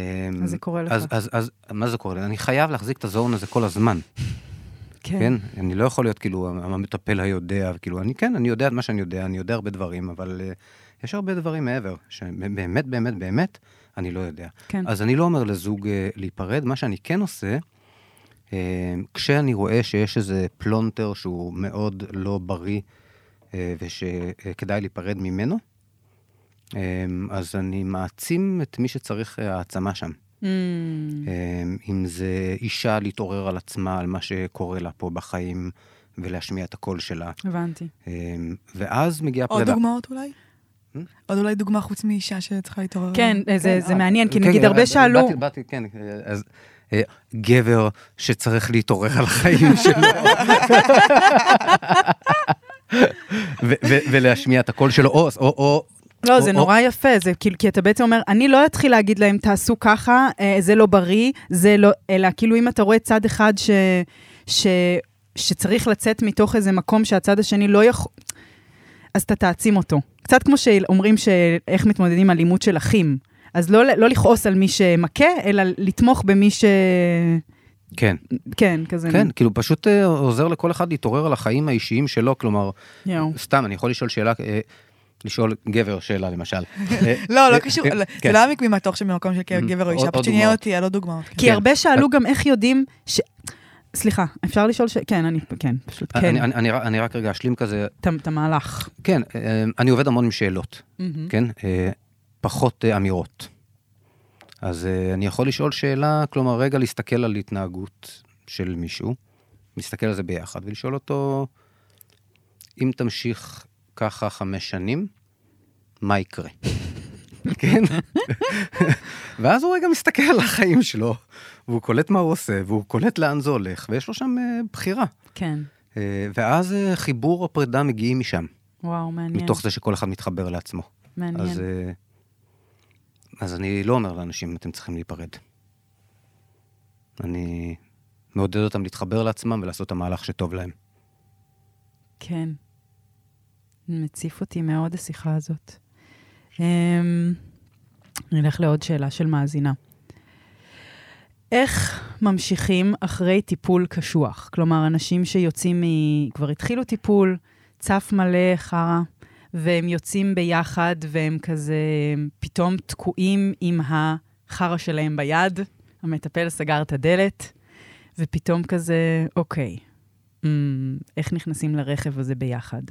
[SPEAKER 1] אז זה קורה לך.
[SPEAKER 2] אז, אז, אז, מה זה קורה? לי? אני חייב להחזיק את הזון הזה כל הזמן,
[SPEAKER 1] כן.
[SPEAKER 2] כן? אני לא יכול להיות כאילו המטפל היודע, כאילו, אני כן, אני יודע את מה שאני יודע, אני יודע הרבה דברים, אבל אה, יש הרבה דברים מעבר, שבאמת, באמת, באמת, אני לא יודע.
[SPEAKER 1] כן.
[SPEAKER 2] אז אני לא אומר לזוג אה, להיפרד, מה שאני כן עושה, אה, כשאני רואה שיש איזה פלונטר שהוא מאוד לא בריא אה, ושכדאי להיפרד ממנו, אה, אז אני מעצים את מי שצריך אה, העצמה שם.
[SPEAKER 1] Mm,
[SPEAKER 2] אה, אם זה אישה להתעורר על עצמה, על מה שקורה לה פה בחיים, ולהשמיע את הקול שלה.
[SPEAKER 1] הבנתי.
[SPEAKER 2] אה, ואז מגיעה
[SPEAKER 4] עוד
[SPEAKER 2] פרידה.
[SPEAKER 4] דוגמאות אולי?
[SPEAKER 2] אה, Hmm?
[SPEAKER 4] עוד אולי דוגמה חוץ מאישה שצריכה להתעורר.
[SPEAKER 1] כן, אה, זה- זה
[SPEAKER 2] אה,
[SPEAKER 1] מעניין, כי
[SPEAKER 2] כן,
[SPEAKER 1] נגיד
[SPEAKER 2] אה,
[SPEAKER 1] הרבה
[SPEAKER 2] אה,
[SPEAKER 1] שאלו...
[SPEAKER 2] באתי- באתי, כן, אה, אז אה, גבר שצריך להתעורר על החיים שלו. ו- ו- ולהשמיע את הקול שלו, או, או, או,
[SPEAKER 1] לא,
[SPEAKER 2] או-
[SPEAKER 1] זה
[SPEAKER 2] או-
[SPEAKER 1] נורא יפה, זה כאילו, כי אתה בעצם אומר, אני לא אתחיל להגיד להם, תעשו ככה, אה, זה לא בריא, זה לא, אלא כאילו אם אתה רואה צד אחד ש, ש, שצריך לצאת מתוך איזה מקום שהצד השני לא יכול... אז אתה תעצים אותו. קצת כמו שאומרים שאיך מתמודדים עם אלימות של אחים. אז לא, לא לכעוס על מי שמכה, אלא לתמוך במי ש...
[SPEAKER 2] כן,
[SPEAKER 1] כן, כזה.
[SPEAKER 2] כן, כאילו פשוט אה, עוזר לכל אחד להתעורר על החיים האישיים שלו, כלומר,
[SPEAKER 1] יואו.
[SPEAKER 2] סתם, אני יכול לשאול שאלה, אה, לשאול גבר שאלה למשל. אה,
[SPEAKER 4] (laughs) לא, לא
[SPEAKER 2] אה,
[SPEAKER 4] קשור,
[SPEAKER 2] אה,
[SPEAKER 4] לא,
[SPEAKER 2] כן.
[SPEAKER 4] זה לא היה ממתוך שממקום של
[SPEAKER 2] Mm,
[SPEAKER 4] גבר או
[SPEAKER 2] עוד-
[SPEAKER 4] אישה,
[SPEAKER 2] עוד
[SPEAKER 4] פשוט
[SPEAKER 2] דוגמאות.
[SPEAKER 4] עניין אותי, היה לא דוגמאות. כן.
[SPEAKER 1] כי
[SPEAKER 2] כן.
[SPEAKER 1] הרבה שאלו גם איך יודעים ש... סליחה, אפשר לשאול ש... כן, אני... כן, פשוט
[SPEAKER 2] אה, אני-
[SPEAKER 1] כן.
[SPEAKER 2] אני- אני רק- אני רק רגע אשלים כזה,
[SPEAKER 1] את- את המהלך.
[SPEAKER 2] כן, אה, אני עובד המון עם שאלות, כן? אה, פחות אה, אמירות. אז אה, אני יכול לשאול שאלה, כלומר, רגע להסתכל על התנהגות של מישהו, להסתכל על זה ביחד, ולשאול אותו, אם תמשיך ככה חמש שנים, מה יקרה? (laughs) כן? ואז הוא רגע מסתכל על החיים שלו, והוא קולט מה הוא עושה, והוא קולט לאן זה הולך, ויש לו שם אה, בחירה.
[SPEAKER 1] כן.
[SPEAKER 2] אה, ואז אה, חיבור או פרידה מגיעים משם,
[SPEAKER 1] וואו, מעניין.
[SPEAKER 2] מתוך זה שכל אחד מתחבר לעצמו.
[SPEAKER 1] מעניין.
[SPEAKER 2] אז, אה, אז אני לא אומר לאנשים, אתם צריכים להיפרד. אני מעודד אותם להתחבר לעצמם ולעשות את המהלך שטוב להם.
[SPEAKER 1] כן. מציף אותי מאוד השיחה הזאת. אמ, נלך לעוד שאלה של מאזינה. איך ממשיכים אחרי טיפול קשוח? כלומר, אנשים שיוצאים מ... כבר התחילו טיפול, צף מלא חרא, והם יוצאים ביחד, והם כזה פתאום תקועים עם החרא שלהם ביד, המטפל סגר את הדלת, ופתאום כזה, אוקיי, mm, איך נכנסים לרכב הזה ביחד?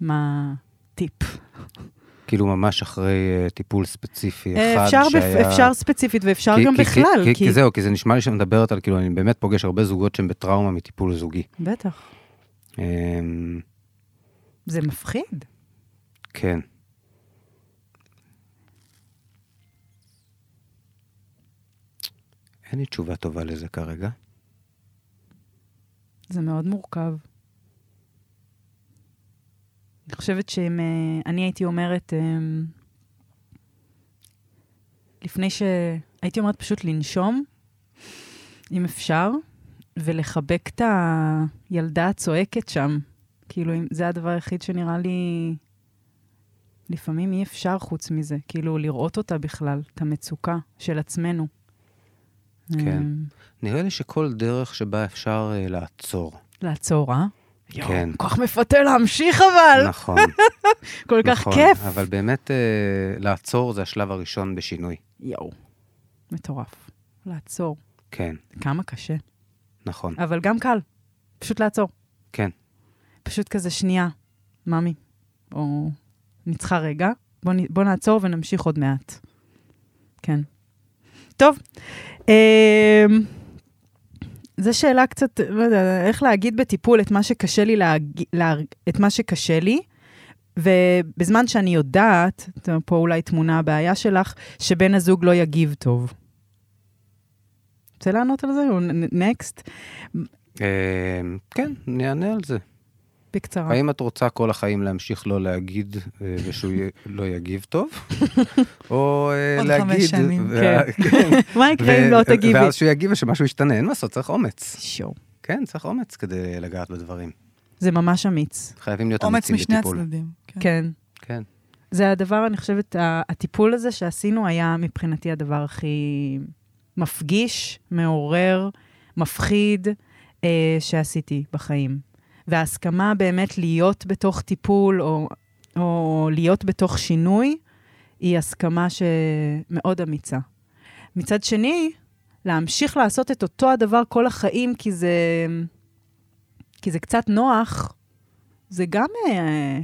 [SPEAKER 1] מה טיפ?
[SPEAKER 2] כאילו ממש אחרי אה, טיפול ספציפי אחד
[SPEAKER 1] אה, אפשר,
[SPEAKER 2] שהיה...
[SPEAKER 1] בפ... אפשר ספציפית ואפשר
[SPEAKER 2] כי-
[SPEAKER 1] גם
[SPEAKER 2] כי-
[SPEAKER 1] בכלל,
[SPEAKER 2] כי, כי... כי זהו, כי זה נשמע לי שאת מדברת על, כאילו, אני באמת פוגש הרבה זוגות שהם בטראומה מטיפול זוגי.
[SPEAKER 1] בטח,
[SPEAKER 2] אמ,
[SPEAKER 1] זה מפחיד.
[SPEAKER 2] כן. אין לי תשובה טובה לזה כרגע.
[SPEAKER 1] זה מאוד מורכב. אני חושבת שאם... אה, אני הייתי אומרת... אמ, לפני ש... הייתי אומרת פשוט לנשום, אם אפשר, ולחבק את הילדה הצועקת שם. כאילו, אם- זה הדבר היחיד שנראה לי... לפעמים אי אפשר חוץ מזה, כאילו, לראות אותה בכלל, את המצוקה של עצמנו.
[SPEAKER 2] כן.
[SPEAKER 1] אמ,
[SPEAKER 2] נראה לי שכל דרך שבה אפשר אה, לעצור.
[SPEAKER 1] לעצור, אה?
[SPEAKER 2] כן.
[SPEAKER 1] כל כך מפתה להמשיך אבל,
[SPEAKER 2] נכון,
[SPEAKER 1] אה, לא. כל כך
[SPEAKER 2] נכון.
[SPEAKER 1] כיף.
[SPEAKER 2] אבל באמת, אה, לעצור זה השלב הראשון בשינוי.
[SPEAKER 1] יואו, מטורף. לעצור.
[SPEAKER 2] כן,
[SPEAKER 1] כמה קשה,
[SPEAKER 2] נכון.
[SPEAKER 1] אבל גם קל. פשוט לעצור.
[SPEAKER 2] כן.
[SPEAKER 1] פשוט כזה שנייה, ממי, או אני צריכה רגע, בוא, נ- בוא נעצור ונמשיך עוד מעט. כן. טוב, אמ, זו שאלה קצת, לא יודע, איך להגיד בטיפול את מה שקשה לי, להג... לה... את מה שקשה לי, ובזמן שאני יודעת, טוב, פה אולי תמונה הבעיה שלך, שבן הזוג לא יגיב טוב. רוצה לענות על זה? או נקסט?
[SPEAKER 2] אה, כן, אני אענה על זה.
[SPEAKER 1] בקצרה.
[SPEAKER 2] האם את רוצה כל החיים להמשיך לא להגיד אה, ושהוא י- לא יגיב טוב? או אה,
[SPEAKER 4] עוד
[SPEAKER 2] להגיד...
[SPEAKER 4] חמש שנים.
[SPEAKER 2] וה- (laughs) כן.
[SPEAKER 1] מה יקרה אם
[SPEAKER 2] ו-
[SPEAKER 1] לא
[SPEAKER 2] ו-
[SPEAKER 1] תגיבי?
[SPEAKER 2] ואז שהוא יגיב ושמשהו ישתנה, אין מה לעשות, צריך אומץ.
[SPEAKER 1] שואו.
[SPEAKER 2] כן, צריך אומץ כדי לגעת בדברים.
[SPEAKER 1] זה ממש אמיץ.
[SPEAKER 2] חייבים להיות
[SPEAKER 4] אומץ
[SPEAKER 2] אמיצים
[SPEAKER 4] משני
[SPEAKER 2] בטיפול.
[SPEAKER 4] הצדדים. כן.
[SPEAKER 1] כן.
[SPEAKER 2] כן.
[SPEAKER 1] זה הדבר, אני חושבת, ה- הטיפול הזה שעשינו היה מבחינתי הדבר הכי מפגיש, מעורר, מפחיד אה, שעשיתי בחיים. וההסכמה באמת להיות בתוך טיפול או, או להיות בתוך שינוי, היא הסכמה שמאוד אמיצה. מצד שני, להמשיך לעשות את אותו הדבר כל החיים, כי זה, כי זה קצת נוח, זה גם אה,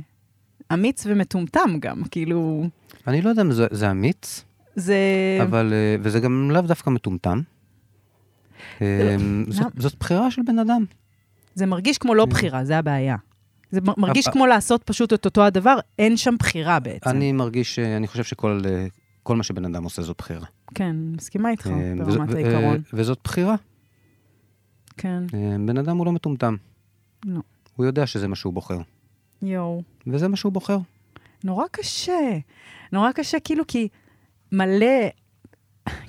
[SPEAKER 1] אמיץ ומטומטם גם, כאילו,
[SPEAKER 2] אני לא יודע אם זה- זה אמיץ,
[SPEAKER 1] זה...
[SPEAKER 2] אבל... אה, וזה גם לאו דווקא מטומטם. אה, זאת-
[SPEAKER 1] למה?
[SPEAKER 2] זאת בחירה של בן אדם.
[SPEAKER 1] זה מרגיש כמו לא בחירה, זה הבעיה. זה מ- מרגיש
[SPEAKER 2] אבל-
[SPEAKER 1] כמו לעשות פשוט את אותו הדבר, אין שם בחירה בעצם.
[SPEAKER 2] אני מרגיש, ש- אני חושב שכל אה, כל מה שבן אדם עושה זו בחירה.
[SPEAKER 1] כן, מסכימה איתך,
[SPEAKER 2] אה, וזו-
[SPEAKER 1] ברמת
[SPEAKER 2] ו- אה,
[SPEAKER 1] העיקרון.
[SPEAKER 2] וזאת בחירה.
[SPEAKER 1] כן,
[SPEAKER 2] אה, בן אדם הוא לא מטומטם.
[SPEAKER 1] לא.
[SPEAKER 2] הוא יודע שזה מה שהוא בוחר.
[SPEAKER 1] יואו.
[SPEAKER 2] וזה מה שהוא בוחר.
[SPEAKER 1] נורא קשה. נורא קשה, כאילו, כי מלא...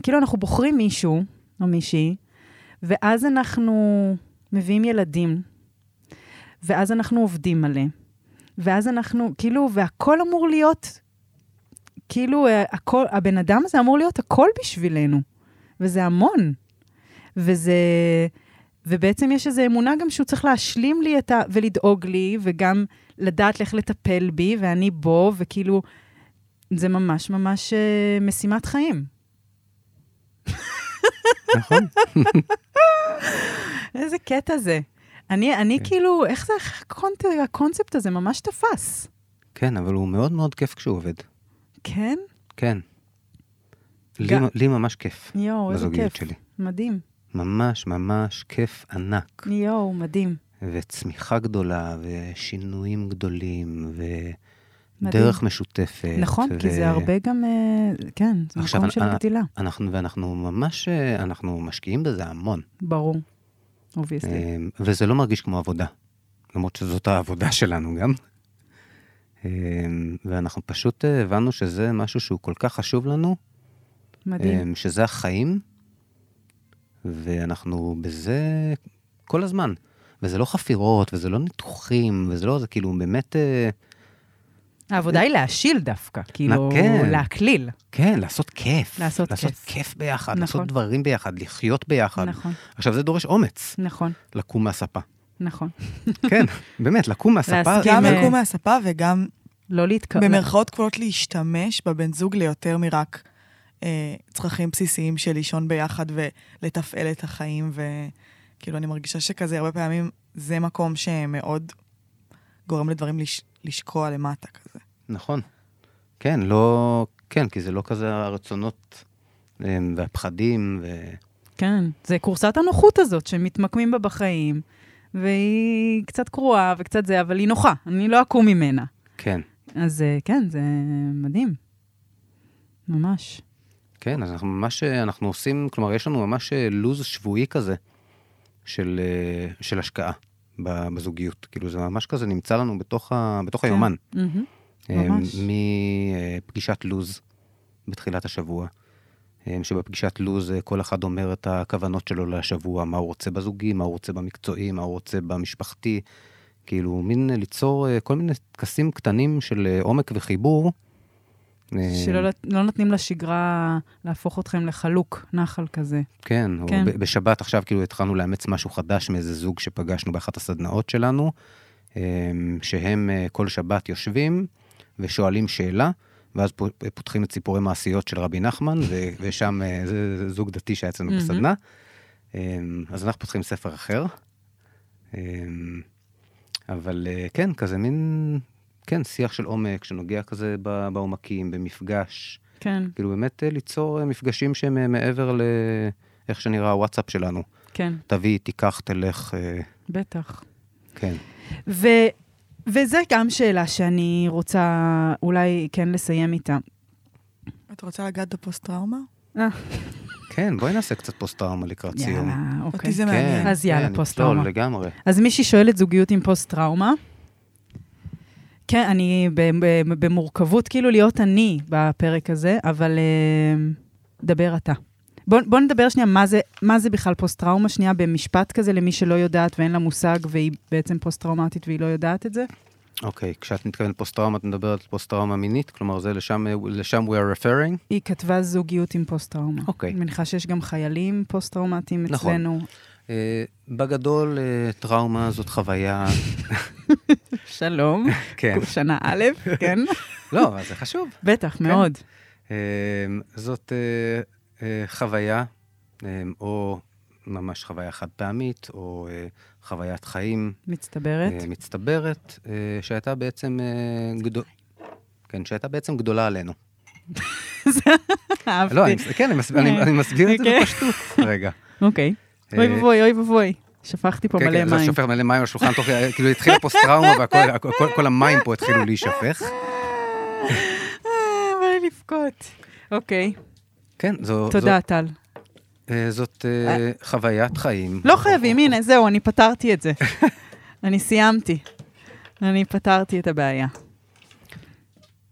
[SPEAKER 1] כאילו, אנחנו בוחרים מישהו או מישהי, ואז אנחנו מביאים ילדים, ואז אנחנו עובדים מלא, ואז אנחנו, כאילו, והכל אמור להיות, כאילו, אה, הכל, הבן אדם הזה אמור להיות הכל בשבילנו, וזה המון. וזה... ובעצם יש איזו אמונה גם שהוא צריך להשלים לי את ה... ולדאוג לי, וגם לדעת איך לטפל בי, ואני בו, וכאילו, זה ממש ממש אה, משימת חיים.
[SPEAKER 2] נכון.
[SPEAKER 1] (laughs) איזה קטע זה. אני, אני
[SPEAKER 2] כן.
[SPEAKER 1] כאילו, איך זה, איך הקונט, הקונספט הזה ממש תפס,
[SPEAKER 2] כן, אבל הוא מאוד מאוד כיף כשהוא עובד.
[SPEAKER 1] כן?
[SPEAKER 2] כן. לי,
[SPEAKER 1] גם-
[SPEAKER 2] לי ממש כיף
[SPEAKER 1] יואו, איזה
[SPEAKER 2] בזוגיות
[SPEAKER 1] כיף.
[SPEAKER 2] שלי.
[SPEAKER 1] מדהים.
[SPEAKER 2] ממש ממש כיף ענק.
[SPEAKER 1] יואו, מדהים.
[SPEAKER 2] וצמיחה גדולה, ושינויים גדולים, ודרך
[SPEAKER 1] מדהים.
[SPEAKER 2] משותפת.
[SPEAKER 1] נכון,
[SPEAKER 2] ו...
[SPEAKER 1] כי זה הרבה גם, אה, כן, זה
[SPEAKER 2] עכשיו,
[SPEAKER 1] מקום של
[SPEAKER 2] אה,
[SPEAKER 1] גדילה.
[SPEAKER 2] אנחנו, ואנחנו ממש, אה, אנחנו משקיעים בזה המון.
[SPEAKER 1] ברור. אובייסלי.
[SPEAKER 2] אה, וזה לא מרגיש כמו עבודה. למרות שזאת העבודה שלנו גם. אה, ואנחנו פשוט אה, הבנו שזה משהו שהוא כל כך חשוב לנו,
[SPEAKER 1] מדהים.
[SPEAKER 2] אמ, שזה החיים, ואנחנו בזה כל הזמן. וזה לא חפירות, וזה לא ניתוחים, וזה לא, זה כאילו באמת, אה,
[SPEAKER 1] העבודה היא להשיל דווקא, כאילו,
[SPEAKER 2] כן.
[SPEAKER 1] להקליל.
[SPEAKER 2] כן, לעשות כיף.
[SPEAKER 1] לעשות
[SPEAKER 2] לעשות
[SPEAKER 1] כיף.
[SPEAKER 2] כיף ביחד,
[SPEAKER 1] נכון.
[SPEAKER 2] לעשות דברים ביחד, לחיות ביחד.
[SPEAKER 1] נכון,
[SPEAKER 2] עכשיו, זה דורש אומץ,
[SPEAKER 1] נכון, (laughs)
[SPEAKER 2] לקום מהספה.
[SPEAKER 1] נכון.
[SPEAKER 2] כן, באמת, לקום מהספה.
[SPEAKER 1] להסכים.
[SPEAKER 4] גם
[SPEAKER 1] אה,
[SPEAKER 4] לקום מהספה וגם
[SPEAKER 1] לא להתקרב.
[SPEAKER 4] במרכאות כפולות להשתמש בבן זוג ליותר מרק אה, צרכים בסיסיים של לישון ביחד ולתפעל את החיים, וכאילו אני מרגישה שכזה הרבה פעמים זה מקום שמאוד גורם לדברים לש... לשקוע למטה כזה.
[SPEAKER 2] נכון. כן, לא... כן, כי זה לא כזה הרצונות אמ, והפחדים, ו...
[SPEAKER 1] כן, זה כורסת הנוחות הזאת שמתמקמים בה בחיים, והיא קצת קרועה וקצת זה, אבל היא נוחה, אני לא אקום ממנה.
[SPEAKER 2] כן.
[SPEAKER 1] אז אה, כן, זה מדהים. ממש.
[SPEAKER 2] כן, אז אנחנו ממש, אה, אנחנו עושים, כלומר, יש לנו ממש אה, לו"ז שבועי כזה של, אה, של השקעה ב- בזוגיות. כאילו, זה ממש כזה נמצא לנו בתוך, ה,
[SPEAKER 1] כן.
[SPEAKER 2] בתוך היומן.
[SPEAKER 1] מהמם.
[SPEAKER 2] אה,
[SPEAKER 1] ממש.
[SPEAKER 2] מפגישת לו"ז בתחילת השבוע, אה, שבפגישת לו"ז אה, כל אחד אומר את הכוונות שלו לשבוע, מה הוא רוצה בזוגי, מה הוא רוצה במקצועי, מה הוא רוצה במשפחתי. כאילו, מין אה, ליצור אה, כל מיני טקסים קטנים של אה, עומק וחיבור. אה,
[SPEAKER 1] שלא נת- לא נותנים לשגרה להפוך אתכם לחלוק, נחל כזה.
[SPEAKER 2] כן, או
[SPEAKER 1] כן.
[SPEAKER 2] ב- בשבת עכשיו כאילו התחלנו לאמץ משהו חדש מאיזה זוג שפגשנו באחת הסדנאות שלנו, אמ, שהם אה, כל שבת יושבים ושואלים שאלה, ואז פו- פותחים את סיפורי מעשיות של רבי נחמן,
[SPEAKER 1] (laughs)
[SPEAKER 2] ו- ושם אה, זה זה זוג דתי שהיה אצלנו
[SPEAKER 1] מהמם.
[SPEAKER 2] בסדנה. אמ, אז אנחנו פותחים ספר אחר. אמ, אבל אה, כן, כזה מין, כן, שיח של עומק שנוגע כזה ב- בעומקים, במפגש.
[SPEAKER 1] כן,
[SPEAKER 2] כאילו באמת אה, ליצור אה, מפגשים שהם אה, מעבר לאיך שנראה הוואטסאפ שלנו.
[SPEAKER 1] כן,
[SPEAKER 2] תביא, תיקח, תלך, אה,
[SPEAKER 1] בטח.
[SPEAKER 2] כן.
[SPEAKER 1] ו... וזה גם שאלה שאני רוצה אולי כן לסיים איתה.
[SPEAKER 4] את רוצה לגעת בפוסט-טראומה?
[SPEAKER 2] כן, בואי נעשה קצת פוסט-טראומה לקראת סיום.
[SPEAKER 1] יאללה, אוקיי.
[SPEAKER 4] אותי זה
[SPEAKER 2] כן,
[SPEAKER 4] מעניין.
[SPEAKER 1] אז יאללה,
[SPEAKER 2] כן,
[SPEAKER 1] פוסט-טראומה.
[SPEAKER 2] נצלול לגמרי.
[SPEAKER 1] אז מישהי שואלת זוגיות עם פוסט-טראומה. כן, אני ב- ב- במורכבות כאילו להיות אני בפרק הזה, אבל אה, דבר אתה. בוא, בוא נדבר שנייה מה זה, מה זה בכלל פוסט-טראומה, שנייה במשפט כזה למי שלא יודעת ואין לה מושג והיא בעצם פוסט-טראומטית והיא לא יודעת את זה.
[SPEAKER 2] אוקיי, כשאת מתכוונת פוסט-טראומה, את מדברת על פוסט-טראומה מינית? כלומר, זה לשם, אה, לשם we are referring?
[SPEAKER 1] היא כתבה זוגיות עם פוסט-טראומה.
[SPEAKER 2] אוקיי.
[SPEAKER 1] אני מניחה שיש גם חיילים פוסט-טראומטיים
[SPEAKER 2] נכון. (laughs)
[SPEAKER 1] אצלנו.
[SPEAKER 2] אה, בגדול, אה, טראומה זאת
[SPEAKER 1] (laughs)
[SPEAKER 2] חוויה...
[SPEAKER 1] שלום,
[SPEAKER 2] כן.
[SPEAKER 1] (laughs) שנה א', כן?
[SPEAKER 2] לא, אבל זה (laughs) חשוב. כן.
[SPEAKER 1] בטח, מאוד.
[SPEAKER 2] אה, זאת אה, אה, חוויה, אה, או ממש חוויה חד פעמית, או אה, חוויית חיים
[SPEAKER 1] מצטברת.
[SPEAKER 2] אה, מצטברת, אה, שהייתה בעצם אה, גדול... כן, שהייתה בעצם גדולה עלינו.
[SPEAKER 1] (laughs) אהבתי.
[SPEAKER 2] לא, אני, מס- כן, אני, מס, אני,
[SPEAKER 1] כן.
[SPEAKER 2] אני מסביר את זה
[SPEAKER 1] אוקיי.
[SPEAKER 2] בפשטות. רגע.
[SPEAKER 1] אוקיי. אוי
[SPEAKER 2] אה,
[SPEAKER 1] ואבוי, אוי ואבוי. שפכתי (laughs) פה
[SPEAKER 2] כן,
[SPEAKER 1] מלא
[SPEAKER 2] כן, זה
[SPEAKER 1] מים.
[SPEAKER 2] שופך מלא מים על השולחן, תוך כדי- כאילו התחילה פוסט-טראומה והכל, הכל- כל, כל המים פה התחילו להישפך.
[SPEAKER 1] אה, בא לי לבכות. אוקיי,
[SPEAKER 2] כן, זו,
[SPEAKER 1] תודה, טל.
[SPEAKER 2] זאת, אה, זאת אה, חוויית חיים.
[SPEAKER 1] לא חייבים, הנה, זהו, אני פתרתי
[SPEAKER 2] (laughs)
[SPEAKER 1] את זה. אני סיימתי. אני פתרתי את הבעיה.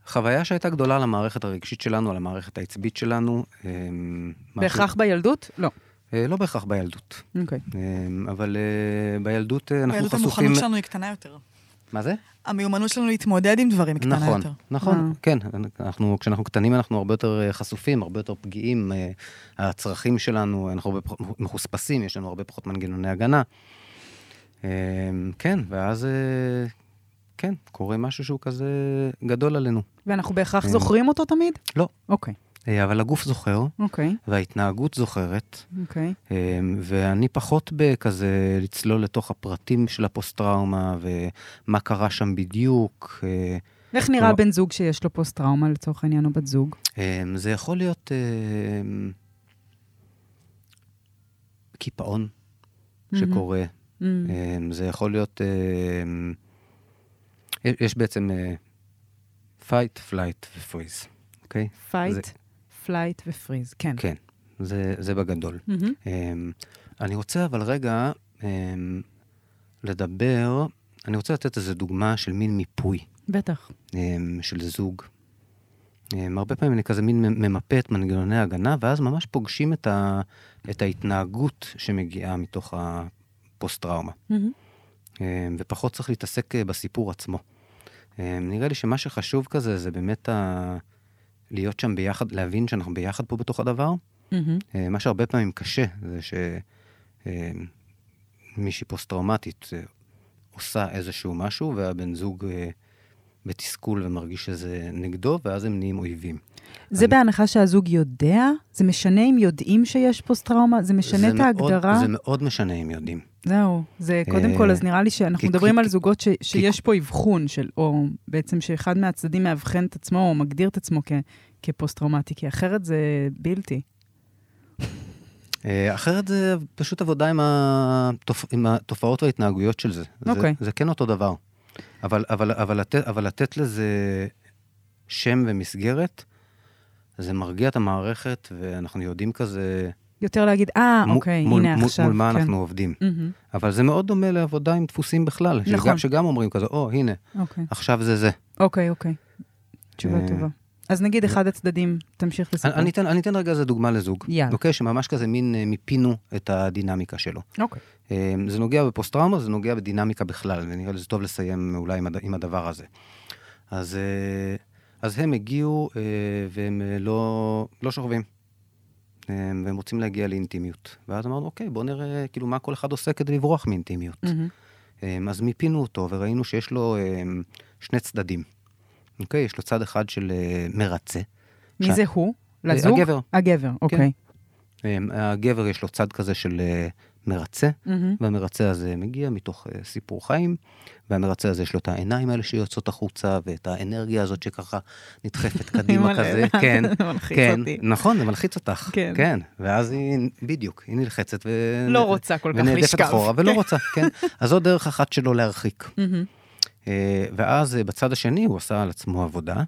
[SPEAKER 2] חוויה שהייתה גדולה על המערכת הרגשית שלנו, על המערכת העצבית שלנו. אה, משהו-
[SPEAKER 1] בהכרח בילדות? לא.
[SPEAKER 2] אה, לא בהכרח בילדות,
[SPEAKER 1] אוקיי.
[SPEAKER 2] אה, אבל אה, בילדות אה, אנחנו
[SPEAKER 4] בילדות
[SPEAKER 2] חשופים...
[SPEAKER 4] המוכנות שלנו היא קטנה יותר.
[SPEAKER 2] מה זה?
[SPEAKER 4] המיומנות שלנו להתמודד עם דברים קטנה
[SPEAKER 2] נכון,
[SPEAKER 4] יותר.
[SPEAKER 2] נכון, כן. אנחנו, כשאנחנו קטנים אנחנו הרבה יותר אה, חשופים, הרבה יותר פגיעים. אה, הצרכים שלנו, אנחנו הרבה פחות מחוספסים, יש לנו הרבה פחות מנגנוני הגנה. אה, כן, ואז, אה, כן, קורה משהו שהוא כזה גדול עלינו.
[SPEAKER 1] ואנחנו בהכרח
[SPEAKER 2] כן.
[SPEAKER 1] זוכרים אותו תמיד?
[SPEAKER 2] לא.
[SPEAKER 1] אוקיי,
[SPEAKER 2] אה, אבל הגוף זוכר,
[SPEAKER 1] אוקיי,
[SPEAKER 2] וההתנהגות זוכרת,
[SPEAKER 1] אוקיי.
[SPEAKER 2] אה, ואני פחות בכזה לצלול לתוך הפרטים של הפוסט-טראומה, ומה קרה שם בדיוק. אה,
[SPEAKER 1] איך נראה
[SPEAKER 2] לא.
[SPEAKER 1] בן זוג שיש לו פוסט-טראומה, לצורך העניין, או בת זוג?
[SPEAKER 2] אמ, זה יכול להיות אמ, קיפאון שקורה,
[SPEAKER 1] Mm-hmm. מהמם.
[SPEAKER 2] אמ, זה יכול להיות... אמ, יש- יש בעצם אה, פייט, פלייט ופריז, אוקיי?
[SPEAKER 1] פייט,
[SPEAKER 2] זה-
[SPEAKER 1] פלייט ופריז, כן. Mm-hmm.
[SPEAKER 2] כן, זה זה בגדול.
[SPEAKER 1] מהמם.
[SPEAKER 2] אמ, אני רוצה אבל רגע אמ, לדבר, אני רוצה לתת איזו דוגמה של מין מיפוי.
[SPEAKER 1] בטח.
[SPEAKER 2] אמ, של זוג. אמ, הרבה פעמים אני כזה מין ממפה את מנגנוני ההגנה, ואז ממש פוגשים את, ה, את ההתנהגות שמגיעה מתוך הפוסט-טראומה.
[SPEAKER 1] מהמם.
[SPEAKER 2] אמ, ופחות צריך להתעסק אה, בסיפור עצמו. אמ, נראה לי שמה שחשוב כזה זה באמת ה... להיות שם ביחד, להבין שאנחנו ביחד פה בתוך הדבר.
[SPEAKER 1] מהמם.
[SPEAKER 2] אה, מה שהרבה פעמים קשה זה שמישהי פוסט-טראומטית אה, עושה איזשהו משהו, והבן זוג אה, בתסכול ומרגיש שזה נגדו, ואז הם נהיים אויבים.
[SPEAKER 1] זה בהנחה שהזוג יודע? זה משנה אם יודעים שיש פוסט-טראומה? זה משנה
[SPEAKER 2] זה
[SPEAKER 1] את
[SPEAKER 2] מאוד-
[SPEAKER 1] ההגדרה?
[SPEAKER 2] זה מאוד משנה אם יודעים.
[SPEAKER 1] זהו, זה קודם
[SPEAKER 2] אה,
[SPEAKER 1] כל, אז נראה לי שאנחנו
[SPEAKER 2] כי-
[SPEAKER 1] מדברים
[SPEAKER 2] כי-
[SPEAKER 1] על זוגות ש- שיש
[SPEAKER 2] כי-
[SPEAKER 1] פה אבחון של, או בעצם שאחד מהצדדים מאבחן את עצמו, או מגדיר את עצמו כ- כפוסט-טראומטי, כי אחרת זה בלתי.
[SPEAKER 2] אה, אחרת זה פשוט עבודה עם, התופ... עם התופעות וההתנהגויות של זה.
[SPEAKER 1] אוקיי.
[SPEAKER 2] זה. זה כן אותו דבר. אבל, אבל, אבל, לתת, אבל לתת לזה שם ומסגרת, זה מרגיע את המערכת, ואנחנו יודעים כזה...
[SPEAKER 1] יותר להגיד, אה,
[SPEAKER 2] מול-
[SPEAKER 1] אוקיי,
[SPEAKER 2] מול,
[SPEAKER 1] הנה
[SPEAKER 2] מול,
[SPEAKER 1] עכשיו.
[SPEAKER 2] מול מה
[SPEAKER 1] כן.
[SPEAKER 2] אנחנו עובדים.
[SPEAKER 1] מהמם,
[SPEAKER 2] אבל זה מאוד דומה לעבודה עם דפוסים בכלל. נכון.
[SPEAKER 1] נכון.
[SPEAKER 2] שגם, שגם אומרים כזה, או, הנה,
[SPEAKER 1] אוקיי,
[SPEAKER 2] עכשיו זה זה.
[SPEAKER 1] אוקיי, אוקיי. תשובה
[SPEAKER 2] אה,
[SPEAKER 1] טובה. אז נגיד אחד הצדדים, תמשיך
[SPEAKER 2] אני,
[SPEAKER 1] לספר.
[SPEAKER 2] אני, אתן, אני אתן רגע איזה דוגמה לזוג.
[SPEAKER 1] יאללה.
[SPEAKER 2] אוקיי? שממש כזה מין אה, מיפינו את הדינמיקה שלו.
[SPEAKER 1] אוקיי.
[SPEAKER 2] אה, זה נוגע בפוסט-טראומה, זה נוגע בדינמיקה בכלל, ונראה לי זה טוב לסיים אולי עם, הד... עם הדבר הזה. אז, אה, אז הם הגיעו אה, והם אה, לא, לא שוכבים. אה, והם רוצים להגיע לאינטימיות. ואז אמרנו, אוקיי, בואו נראה כאילו מה כל אחד עושה כדי לברוח מאינטימיות.
[SPEAKER 1] מהמם,
[SPEAKER 2] אמ, אז מיפינו אותו וראינו שיש לו אמ, שני צדדים. אוקיי? יש לו צד אחד של אה, מרצה.
[SPEAKER 1] מי זה הוא? לזוג?
[SPEAKER 2] הגבר. כן.
[SPEAKER 1] הגבר, אוקיי.
[SPEAKER 2] אמ, הגבר יש לו צד כזה של אה, מרצה,
[SPEAKER 1] מהמם,
[SPEAKER 2] והמרצה הזה מגיע מתוך אה, סיפור חיים, והמרצה הזה יש לו את העיניים האלה שיוצאות החוצה, ואת האנרגיה הזאת שככה
[SPEAKER 1] (laughs)
[SPEAKER 2] נדחפת קדימה
[SPEAKER 1] אימא'לה,
[SPEAKER 2] כזה. כן,
[SPEAKER 1] זה מלחיץ
[SPEAKER 2] כן,
[SPEAKER 1] אותי.
[SPEAKER 2] נכון, זה מלחיץ אותך.
[SPEAKER 1] כן.
[SPEAKER 2] כן, ואז היא, בדיוק, היא נלחצת ו...
[SPEAKER 1] לא רוצה כל כך
[SPEAKER 2] ונעדפת
[SPEAKER 1] לשכב.
[SPEAKER 2] אחורה, ולא רוצה,
[SPEAKER 1] (laughs)
[SPEAKER 2] כן. אז זו דרך אחת שלו להרחיק.
[SPEAKER 1] מהמם.
[SPEAKER 2] אה, ואז אה, בצד השני הוא עשה על
[SPEAKER 1] (laughs)
[SPEAKER 2] עצמו עבודה.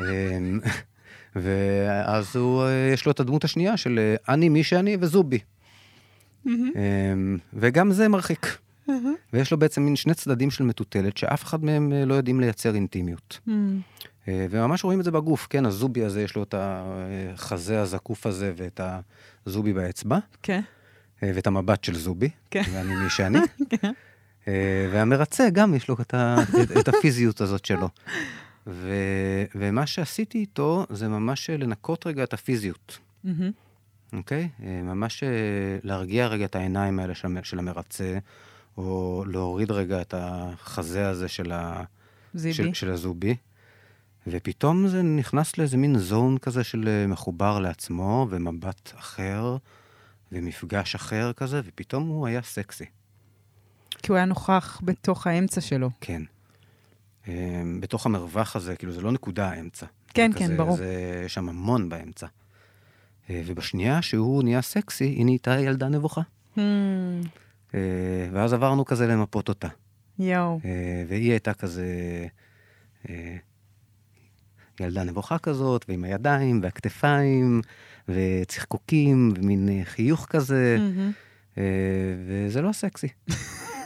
[SPEAKER 2] אמ, (laughs) ואז הוא, אה, יש לו את הדמות השנייה של אה, אני מי שאני וזובי. אמ, וגם זה מרחיק. ויש לו בעצם מין שני צדדים של מטוטלת שאף אחד מהם אה, לא יודעים לייצר אינטימיות.
[SPEAKER 1] מהמם.
[SPEAKER 2] אה, וממש רואים את זה בגוף, כן, הזובי הזה יש לו את החזה הזקוף הזה ואת הזובי באצבע.
[SPEAKER 1] כן.
[SPEAKER 2] אה, ואת המבט של זובי,
[SPEAKER 1] כן.
[SPEAKER 2] ואני מי
[SPEAKER 1] (laughs)
[SPEAKER 2] שאני. אה, והמרצה גם יש לו את, ה, את, את הפיזיות הזאת שלו. ו, ומה שעשיתי איתו זה ממש אה, לנקות רגע את הפיזיות,
[SPEAKER 1] מהמם,
[SPEAKER 2] אוקיי? אה, ממש אה, להרגיע רגע את העיניים האלה של, המ- של המרצה, או להוריד רגע את החזה הזה של, ה,
[SPEAKER 1] זיבי.
[SPEAKER 2] של, של הזובי. ופתאום זה נכנס לאיזה מין זון כזה של אה, מחובר לעצמו, ומבט אחר, ומפגש אחר כזה, ופתאום הוא היה סקסי,
[SPEAKER 1] כי הוא היה נוכח בתוך האמצע שלו.
[SPEAKER 2] כן. אה, בתוך המרווח הזה, כאילו זה לא נקודה האמצע.
[SPEAKER 1] כן,
[SPEAKER 2] זה
[SPEAKER 1] כן,
[SPEAKER 2] כזה-
[SPEAKER 1] ברור.
[SPEAKER 2] זה, יש שם המון באמצע. אה, ובשנייה שהוא נהיה סקסי, היא נהייתה ילדה נבוכה.
[SPEAKER 1] מהמם,
[SPEAKER 2] אה, ואז עברנו כזה למפות אותה.
[SPEAKER 1] יואו.
[SPEAKER 2] אה, והיא הייתה כזה אה, ילדה נבוכה כזאת, ועם הידיים והכתפיים, וצחקוקים, ומין אה, חיוך כזה,
[SPEAKER 1] מהמם.
[SPEAKER 2] אה, וזה לא סקסי.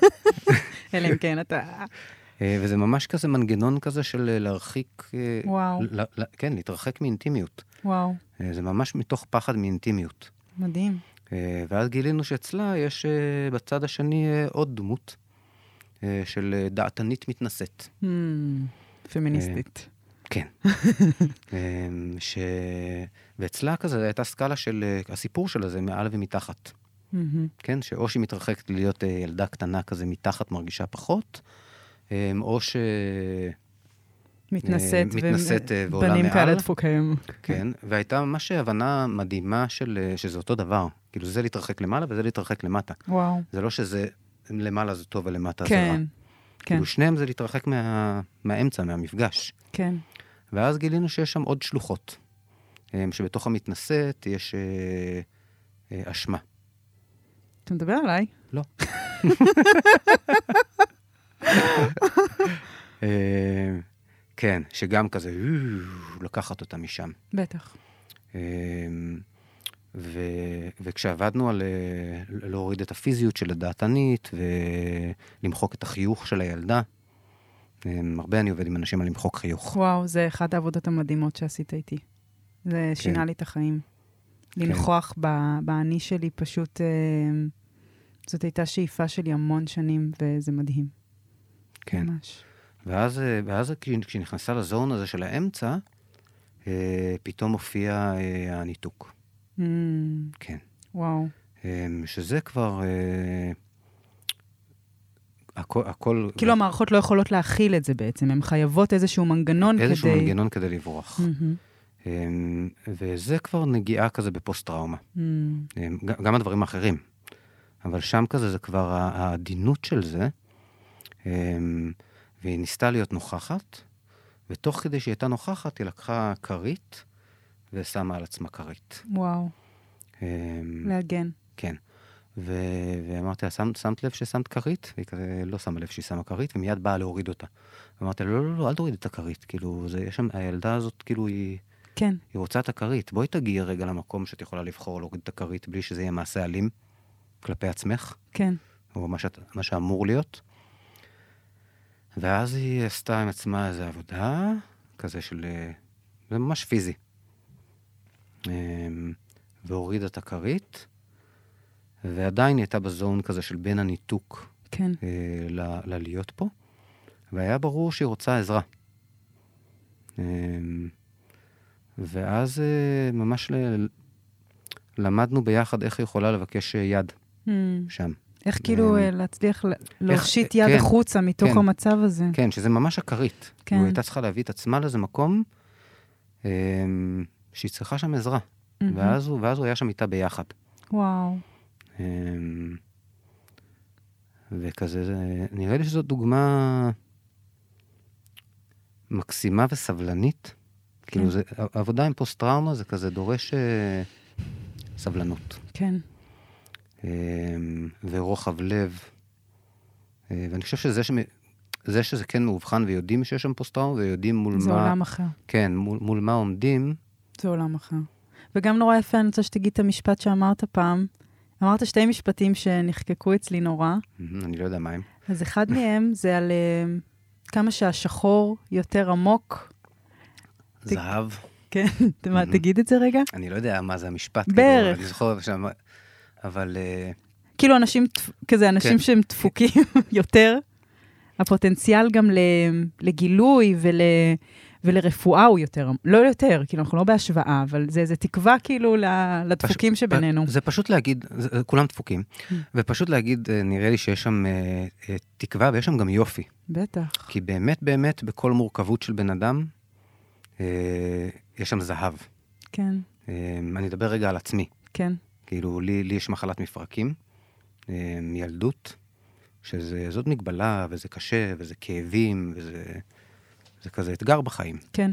[SPEAKER 1] (laughs) אלא אם כן אתה...
[SPEAKER 2] אה, וזה ממש כזה מנגנון כזה של אה, להרחיק... אה,
[SPEAKER 1] וואו.
[SPEAKER 2] ל- ל- כן, להתרחק מאינטימיות.
[SPEAKER 1] וואו,
[SPEAKER 2] אה, זה ממש מתוך פחד מאינטימיות.
[SPEAKER 1] מדהים.
[SPEAKER 2] אה, ואז גילינו שאצלה יש אה, בצד השני אה, עוד דמות, אה, אה, של אה, דעתנית מתנשאת. Hmm.
[SPEAKER 1] פמיניסטית. (laughs)
[SPEAKER 2] כן. אמ, ש... ואצלה כזה הייתה סקאלה של אה, הסיפור שלה זה מעל ומתחת.
[SPEAKER 1] מהמם.
[SPEAKER 2] כן, שאו שהיא מתרחקת להיות אה, ילדה קטנה כזה מתחת, מרגישה פחות, אמ, או ש...
[SPEAKER 1] מתנשאת. ו-
[SPEAKER 2] מתנשאת, אה, ועולה
[SPEAKER 1] בנים כאלה
[SPEAKER 2] מעל.
[SPEAKER 1] דפוקים.
[SPEAKER 2] כן, והייתה ממש הבנה מדהימה של, אה, שזה אותו דבר. כאילו, זה להתרחק למעלה וזה להתרחק למטה.
[SPEAKER 1] וואו.
[SPEAKER 2] זה לא שזה למעלה זה טוב ולמטה זה רע.
[SPEAKER 1] כן, כן,
[SPEAKER 2] כאילו, שניהם זה להתרחק מה... מהאמצע, מהמפגש.
[SPEAKER 1] כן.
[SPEAKER 2] ואז גילינו שיש שם עוד שלוחות, אמ, שבתוך המתנשאת יש אה, אה, אשמה.
[SPEAKER 1] אתה מדבר עליי?
[SPEAKER 2] לא. אה, כן, שגם כזה, "אה, לקחת אותה משם.
[SPEAKER 1] בטח.
[SPEAKER 2] אמ, ו, וכשעבדנו על אה, להוריד את הפיזיות של הדעתנית ולמחוק את החיוך של הילדה, אמ, הרבה אני עובד עם אנשים על למחוק חיוך.
[SPEAKER 1] וואו, זה אחת העבודות המדהימות שעשית איתי. זה
[SPEAKER 2] כן.
[SPEAKER 1] שינה לי את החיים. לנכוח ב- באני שלי פשוט... אה, זאת הייתה שאיפה שלי המון שנים, וזה מדהים.
[SPEAKER 2] כן.
[SPEAKER 1] ממש.
[SPEAKER 2] ואז, אה, ואז כשהיא- כשהיא נכנסה לזון הזה של האמצע, אה, פתאום הופיע אה, הניתוק.
[SPEAKER 1] אמ,
[SPEAKER 2] כן.
[SPEAKER 1] וואו.
[SPEAKER 2] אה, שזה כבר... אה, הכל, הכל
[SPEAKER 1] כאילו המערכות לא יכולות להכיל את זה בעצם, הן חייבות איזשהו מנגנון כדי... Mm.
[SPEAKER 2] איזשהו מנגנון כדי לברוח.
[SPEAKER 1] מהמם.
[SPEAKER 2] אמ, וזה כבר נגיעה כזה בפוסט-טראומה.
[SPEAKER 1] אמ,
[SPEAKER 2] אמ, ג- גם הדברים האחרים. אבל שם כזה זה כבר ה- העדינות של זה, אמ, והיא ניסתה להיות נוכחת, ותוך כדי שהיא הייתה נוכחת, היא לקחה כרית ושמה על עצמה כרית.
[SPEAKER 1] וואו,
[SPEAKER 2] Mm. אמ,
[SPEAKER 1] להגן.
[SPEAKER 2] כן. ו- ואמרתי לה, "שמת- שמת לב ששמת כרית? והיא כזה לא שמה לב שהיא שמה כרית, ומיד באה להוריד אותה. אמרתי לה, לא, לא, לא, אל תוריד את הכרית. כאילו, זה, יש שם, הילדה הזאת, כאילו, היא...
[SPEAKER 1] כן,
[SPEAKER 2] היא רוצה את הכרית, בואי תגיעי רגע למקום שאת יכולה לבחור להוריד את הכרית בלי שזה יהיה מעשה אלים כלפי עצמך,
[SPEAKER 1] כן.
[SPEAKER 2] או מה, שאת, מה שאמור להיות. ואז היא עשתה עם עצמה איזו עבודה, כזה של... אה, זה ממש פיזי. אמ, והורידה את הכרית, ועדיין היא הייתה בזון כזה של בין הניתוק
[SPEAKER 1] כן.
[SPEAKER 2] אה, ל- ללהיות פה, והיה ברור שהיא רוצה עזרה. אמ, ואז אה, ממש ל- למדנו ביחד איך היא יכולה לבקש אה, יד
[SPEAKER 1] אמ,
[SPEAKER 2] שם.
[SPEAKER 1] איך כאילו
[SPEAKER 2] אמ,
[SPEAKER 1] אה, להצליח ל- להושיט יד
[SPEAKER 2] כן,
[SPEAKER 1] החוצה מתוך
[SPEAKER 2] כן.
[SPEAKER 1] המצב הזה?
[SPEAKER 2] כן, שזה ממש הכרית.
[SPEAKER 1] כן.
[SPEAKER 2] כן. היא הייתה צריכה להביא את עצמה לאיזה מקום אמ, שהיא צריכה שם עזרה.
[SPEAKER 1] מהמם.
[SPEAKER 2] ואז הוא, ואז הוא היה שם איתה ביחד.
[SPEAKER 1] Mm-hmm. וואו.
[SPEAKER 2] אמ, וכזה, זה- נראה לי שזאת דוגמה מקסימה וסבלנית.
[SPEAKER 1] כן.
[SPEAKER 2] כאילו, זה, ע- עבודה עם פוסט-טראומה זה כזה דורש אה, סבלנות
[SPEAKER 1] כן.
[SPEAKER 2] אמ, ורוחב לב. אה, ואני חושב שזה שמ... זה שזה כן מאובחן ויודעים שיש שם פוסט-טראומה ויודעים מול
[SPEAKER 1] זה
[SPEAKER 2] מה...
[SPEAKER 1] עולם אחר.
[SPEAKER 2] כן, מול, מול מה עומדים.
[SPEAKER 1] זה עולם אחר. וגם נורא יפה, אני רוצה שתגיד את המשפט שאמרת פעם. אמרת שתי משפטים שנחקקו אצלי נורא,
[SPEAKER 2] אמ, אני לא יודע מה הם.
[SPEAKER 1] אז אחד מהם זה על אה, כמה שהשחור יותר עמוק.
[SPEAKER 2] זהב.
[SPEAKER 1] כן, מה,
[SPEAKER 2] Mhm.
[SPEAKER 1] תגיד את זה רגע.
[SPEAKER 2] אני לא יודע מה זה המשפט.
[SPEAKER 1] בערך.
[SPEAKER 2] כאילו, אני זוכר שם... אבל... אה,
[SPEAKER 1] כאילו אנשים, דפ- כזה אנשים
[SPEAKER 2] כן.
[SPEAKER 1] שהם דפוקים (laughs) יותר, הפוטנציאל גם ל- לגילוי ול... ולרפואה הוא יותר, לא יותר, כאילו אנחנו לא בהשוואה, אבל זה, זה תקווה כאילו ל- לדפוקים שבינינו. Mm.
[SPEAKER 2] פ- זה פשוט להגיד, זה- זה- כולם דפוקים, ופשוט להגיד, אה, נראה לי שיש שם אה, אה, תקווה ויש שם גם יופי.
[SPEAKER 1] בטח.
[SPEAKER 2] כי באמת באמת בכל מורכבות של בן אדם, אה, יש שם זהב.
[SPEAKER 1] כן,
[SPEAKER 2] אה, אני אדבר רגע על עצמי.
[SPEAKER 1] כן.
[SPEAKER 2] כאילו, לי, לי יש מחלת מפרקים, אה, ילדות, שזאת מגבלה, וזה קשה, וזה כאבים, וזה זה כזה אתגר בחיים.
[SPEAKER 1] כן,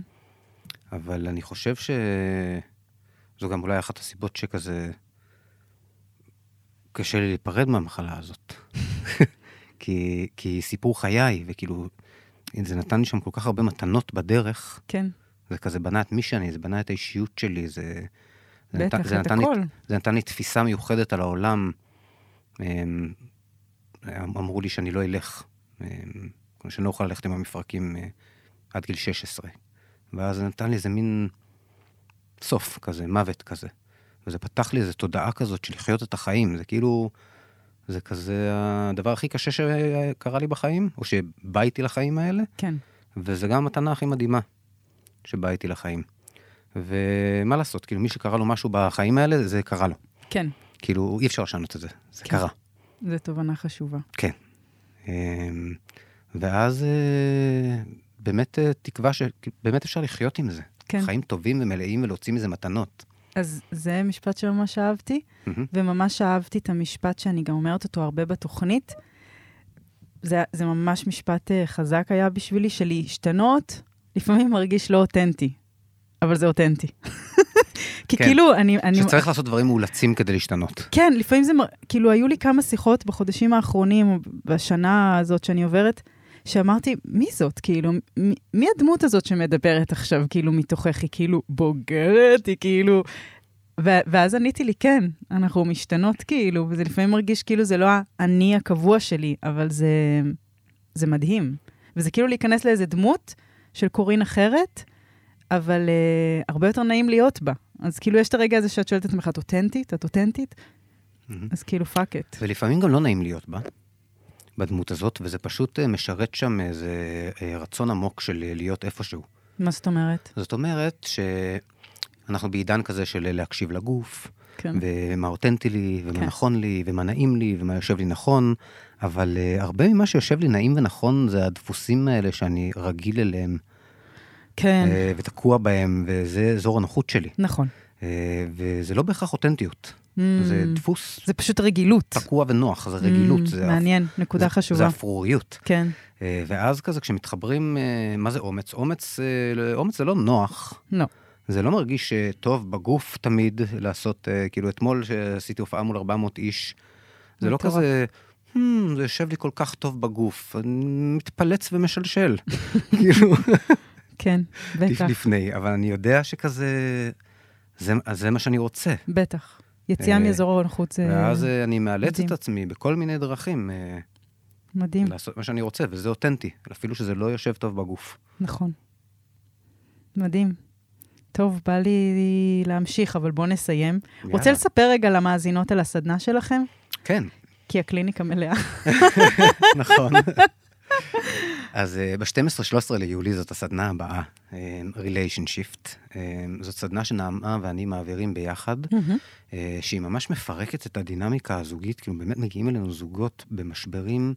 [SPEAKER 2] אבל אני חושב שזו גם אולי אחת הסיבות שכזה קשה לי להיפרד מהמחלה הזאת. (laughs) כי, כי היא סיפור חיי, וכאילו, זה נתן לי שם כל כך הרבה מתנות בדרך,
[SPEAKER 1] כן,
[SPEAKER 2] זה כזה בנה את מי שאני, זה בנה את האישיות שלי, זה... זה
[SPEAKER 1] בטח,
[SPEAKER 2] נתן- זה
[SPEAKER 1] את
[SPEAKER 2] נתן לי-
[SPEAKER 1] הכל.
[SPEAKER 2] זה נתן לי תפיסה מיוחדת על העולם. אמ, אמרו לי שאני לא אלך, אמ, כלומר שאני לא אוכל ללכת עם המפרקים אה, עד גיל 16. ואז זה נתן לי איזה מין סוף כזה, מוות כזה. וזה פתח לי איזו תודעה כזאת של לחיות את החיים, זה כאילו זה כזה הדבר הכי קשה שקרה לי בחיים, או שבא איתי לחיים האלה,
[SPEAKER 1] כן.
[SPEAKER 2] וזה גם המתנה הכי מדהימה שבאה איתי לחיים. ומה לעשות, כאילו מי שקרה לו משהו בחיים האלה, זה קרה לו.
[SPEAKER 1] כן,
[SPEAKER 2] כאילו, אי אפשר לשנות את זה, זה
[SPEAKER 1] כן.
[SPEAKER 2] קרה.
[SPEAKER 1] זו תובנה חשובה.
[SPEAKER 2] כן. אמ, ואז אה, באמת אה, תקווה שבאמת אפשר לחיות עם זה.
[SPEAKER 1] כן.
[SPEAKER 2] חיים טובים ומלאים ולהוציא מזה מתנות.
[SPEAKER 1] אז זה משפט שממש אהבתי,
[SPEAKER 2] מהמם.
[SPEAKER 1] וממש אהבתי את המשפט שאני גם אומרת אותו הרבה בתוכנית. זה, זה ממש משפט אה, חזק היה בשבילי, של להשתנות, לפעמים מרגיש לא אותנטי, אבל זה אותנטי. (laughs) כי
[SPEAKER 2] כן.
[SPEAKER 1] כאילו, אני... אני
[SPEAKER 2] שצריך לעשות דברים מאולצים כדי להשתנות.
[SPEAKER 1] כן, לפעמים זה, מר- כאילו, היו לי כמה שיחות בחודשים האחרונים, או בשנה הזאת שאני עוברת, שאמרתי, מי זאת? כאילו, מי, מי הדמות הזאת שמדברת עכשיו, כאילו, מתוכך? היא כאילו בוגרת, היא כאילו... ו- ואז עניתי לי, כן, אנחנו משתנות, כאילו, וזה לפעמים מרגיש כאילו זה לא האני הקבוע שלי, אבל זה, זה מדהים. וזה כאילו להיכנס לאיזה דמות של קורין אחרת, אבל uh, הרבה יותר נעים להיות בה. אז כאילו, יש את הרגע הזה שאת שואלת את עצמך, את אותנטית? את אותנטית?
[SPEAKER 2] מהמם.
[SPEAKER 1] אז כאילו, פאק את.
[SPEAKER 2] ולפעמים גם לא נעים להיות בה, בדמות הזאת, וזה פשוט אה, משרת שם איזה אה, רצון עמוק של אה, להיות איפשהו.
[SPEAKER 1] מה זאת אומרת?
[SPEAKER 2] זאת אומרת שאנחנו בעידן כזה של אה, להקשיב לגוף,
[SPEAKER 1] כן.
[SPEAKER 2] ומה אותנטי לי, ומה
[SPEAKER 1] כן.
[SPEAKER 2] כן. נכון לי, ומה נעים לי, ומה יושב לי נכון, אבל uh, הרבה ממה שיושב לי נעים ונכון זה הדפוסים האלה שאני רגיל אליהם,
[SPEAKER 1] כן,
[SPEAKER 2] אה, ותקוע בהם, וזה אזור הנוחות שלי.
[SPEAKER 1] נכון.
[SPEAKER 2] אה, וזה לא בהכרח אותנטיות,
[SPEAKER 1] Mm,
[SPEAKER 2] זה דפוס
[SPEAKER 1] זה פשוט רגילות.
[SPEAKER 2] תקוע ונוח, זה רגילות,
[SPEAKER 1] Mm,
[SPEAKER 2] זה,
[SPEAKER 1] מעניין,
[SPEAKER 2] זה,
[SPEAKER 1] נקודה חשובה.
[SPEAKER 2] זה אפרוריות.
[SPEAKER 1] כן,
[SPEAKER 2] אה, ואז כזה כשמתחברים, אה, מה זה אומץ? אומץ, אה, אומץ זה לא נוח.
[SPEAKER 1] לא.
[SPEAKER 2] זה לא מרגיש אה, טוב בגוף תמיד לעשות, אה, כאילו אתמול שעשיתי הופעה מול 400 איש, זה לא
[SPEAKER 1] מטורף.
[SPEAKER 2] כזה, "הם, זה יושב לי כל כך טוב בגוף, אני מתפלץ
[SPEAKER 1] (laughs)
[SPEAKER 2] ומשלשל, כאילו,
[SPEAKER 1] כן,
[SPEAKER 2] לפ-
[SPEAKER 1] בטח,
[SPEAKER 2] לפני, אבל אני יודע שכזה, זה, אז זה מה שאני רוצה.
[SPEAKER 1] בטח. יציאה
[SPEAKER 2] אה,
[SPEAKER 1] מאזור ההולכות זה
[SPEAKER 2] ואז אה, אני מאלץ
[SPEAKER 1] מדהים.
[SPEAKER 2] את עצמי בכל מיני דרכים אה,
[SPEAKER 1] מדהים,
[SPEAKER 2] לעשות מה שאני רוצה, וזה אותנטי, אפילו שזה לא יושב טוב בגוף.
[SPEAKER 1] נכון. מדהים. טוב, בא לי להמשיך, אבל בואו נסיים. רוצה
[SPEAKER 2] יאללה.
[SPEAKER 1] לספר רגע למאזינות על הסדנה שלכם?
[SPEAKER 2] כן.
[SPEAKER 1] כי הקליניקה מלאה.
[SPEAKER 2] נכון. (laughs) אז אה, ב-12-13 ליולי זאת הסדנה הבאה, אה, Relation Shift. אה, זאת סדנה שנעמה ואני מעבירים ביחד, אה, שהיא ממש מפרקת את הדינמיקה הזוגית, כאילו באמת מגיעים אלינו זוגות במשברים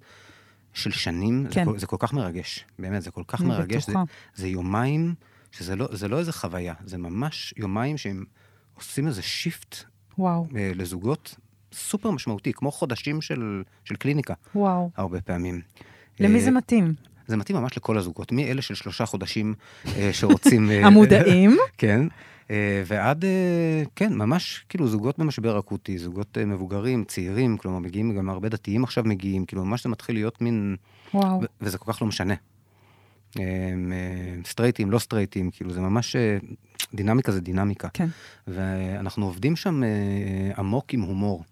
[SPEAKER 2] של שנים.
[SPEAKER 1] כן.
[SPEAKER 2] זה כל, זה כל כך מרגש, באמת, זה כל כך
[SPEAKER 1] אני
[SPEAKER 2] מרגש. זה,
[SPEAKER 1] בטוחה.
[SPEAKER 2] זה יומיים, שזה לא, זה לא איזה חוויה, זה ממש יומיים שהם עושים איזה שיפט
[SPEAKER 1] (laughs) וואו,
[SPEAKER 2] אה, לזוגות סופר משמעותי, כמו חודשים של, של קליניקה.
[SPEAKER 1] וואו.
[SPEAKER 2] הרבה פעמים.
[SPEAKER 1] למי
[SPEAKER 2] אה,
[SPEAKER 1] זה מתאים?
[SPEAKER 2] זה מתאים ממש לכל הזוגות, מאלה של שלושה חודשים אה, שרוצים... אה,
[SPEAKER 1] המודעים?
[SPEAKER 2] (laughs) כן. אה, ועד, אה, כן, ממש כאילו זוגות במשבר אקוטי, זוגות אה, מבוגרים, צעירים, כלומר מגיעים, גם הרבה דתיים עכשיו מגיעים, כאילו ממש זה מתחיל להיות מין,
[SPEAKER 1] וואו.
[SPEAKER 2] ו- וזה כל כך לא משנה. אה, אה, סטרייטים, לא סטרייטים, כאילו זה ממש, אה, דינמיקה זה דינמיקה.
[SPEAKER 1] כן.
[SPEAKER 2] ואנחנו עובדים שם אה, אה, עמוק עם הומור.